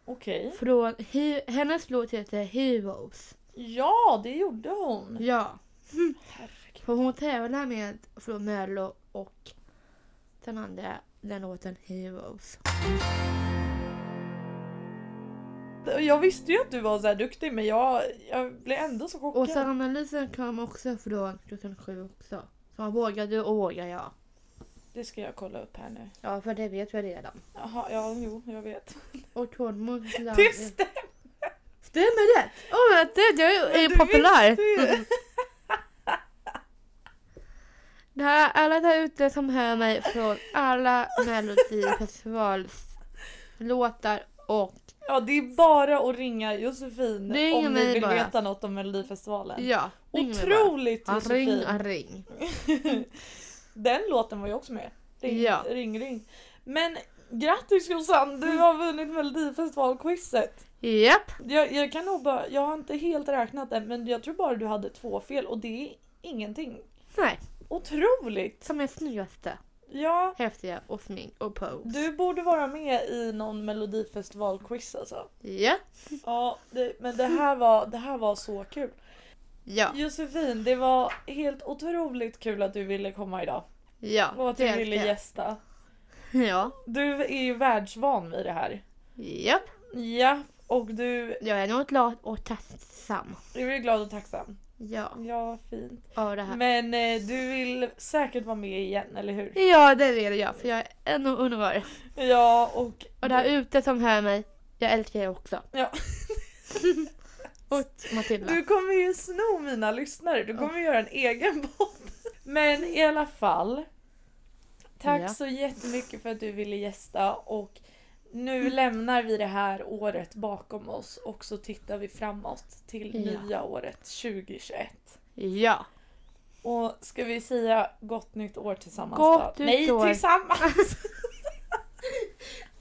Speaker 1: Okej.
Speaker 3: Från, he, hennes låt heter Heroes.
Speaker 1: Ja, det gjorde hon.
Speaker 3: Ja,
Speaker 1: Herregud.
Speaker 3: för hon tävlar med från Mello och den andra, den låten Heroes.
Speaker 1: Jag visste ju att du var så här duktig men jag, jag blev ändå så chockad.
Speaker 3: Och analysen kom också från 2007 också. Så han vågade och vågar jag.
Speaker 1: Det ska jag kolla upp här nu.
Speaker 3: Ja, för det vet jag redan.
Speaker 1: Jaha, ja, jo, jag vet.
Speaker 3: Och Tormos land...
Speaker 1: Det stämmer!
Speaker 3: Stämmer det? Åh, oh, det, det är
Speaker 1: Du
Speaker 3: populär!
Speaker 1: visste ju.
Speaker 3: Det här, alla där ute som hör mig från alla Melodifestivalslåtar och
Speaker 1: Ja, det är bara att ringa Josefin
Speaker 3: Ring
Speaker 1: om ni
Speaker 3: mig
Speaker 1: vill
Speaker 3: bara.
Speaker 1: veta något om Melodifestivalen.
Speaker 3: ja, ring mig bara.
Speaker 1: Otroligt
Speaker 3: Ja,
Speaker 1: Josefin!
Speaker 3: Ring, ja, ring.
Speaker 1: Den låten var ju också med. Ring,
Speaker 3: Ja.
Speaker 1: ring, ring. Men grattis Jossan, du har vunnit Melodifestivalquizet.
Speaker 3: Japp,
Speaker 1: Jag, jag kan nog bara, jag har inte helt räknat det, men jag tror bara du hade två fel och det är ingenting.
Speaker 3: nej,
Speaker 1: Otroligt!
Speaker 3: som är snyggaste,
Speaker 1: Ja,
Speaker 3: häftiga och smink och pose.
Speaker 1: du borde vara med i någon Melodifestivalquiz alltså.
Speaker 3: Ja,
Speaker 1: Ja, det, men det här, var, det här var så kul.
Speaker 3: ja,
Speaker 1: Josefin, det var helt otroligt kul att du ville komma idag
Speaker 3: ja.
Speaker 1: och att du
Speaker 3: det
Speaker 1: ville
Speaker 3: älskar jag.
Speaker 1: gästa.
Speaker 3: Ja,
Speaker 1: Du är ju världsvan vid det här.
Speaker 3: japp.
Speaker 1: Ja, och du
Speaker 3: Jag är nog glad och tacksam.
Speaker 1: Du är glad och tacksam.
Speaker 3: Ja,
Speaker 1: Ja, fint.
Speaker 3: av det här.
Speaker 1: Men eh, du vill säkert vara med igen, eller hur?
Speaker 3: Ja, det vill jag, för jag är ännu underbar.
Speaker 1: Ja, och...
Speaker 3: Och där ute som hör mig, jag älskar er också.
Speaker 1: Ja.
Speaker 3: och Matilda.
Speaker 1: Du kommer ju sno mina lyssnare, du kommer göra en egen podd. Men i alla fall. Tack
Speaker 3: Ja.
Speaker 1: så jättemycket för att du ville gästa och nu
Speaker 3: Mm.
Speaker 1: lämnar vi det här året bakom oss och så tittar vi framåt till
Speaker 3: Ja.
Speaker 1: nya året 2021.
Speaker 3: Ja.
Speaker 1: Och ska vi säga gott nytt år tillsammans
Speaker 3: Gott
Speaker 1: då?
Speaker 3: nytt
Speaker 1: Nej,
Speaker 3: år.
Speaker 1: tillsammans!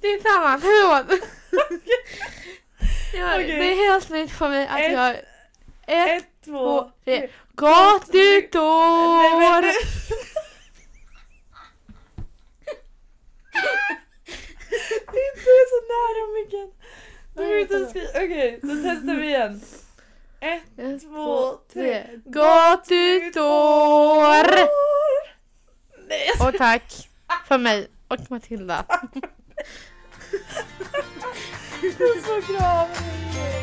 Speaker 3: Det är samma, förlåt. ja,
Speaker 1: Okej.
Speaker 3: Det är helt nytt för mig att
Speaker 1: Ett,
Speaker 3: jag... Ett,
Speaker 1: Ett, två, tre.
Speaker 3: Gott nytt
Speaker 1: Nej, men
Speaker 3: år!
Speaker 1: nu- Inte så nära micken. Du får
Speaker 3: Nej,
Speaker 1: inte
Speaker 3: förlåt.
Speaker 1: skri- Okej, då testar vi igen. Ett,
Speaker 3: Ett,
Speaker 1: två, tre.
Speaker 3: Gott nytt år!
Speaker 1: Nej, jag
Speaker 3: Och tack för mig och Matilda.
Speaker 1: Puss och kram! hej.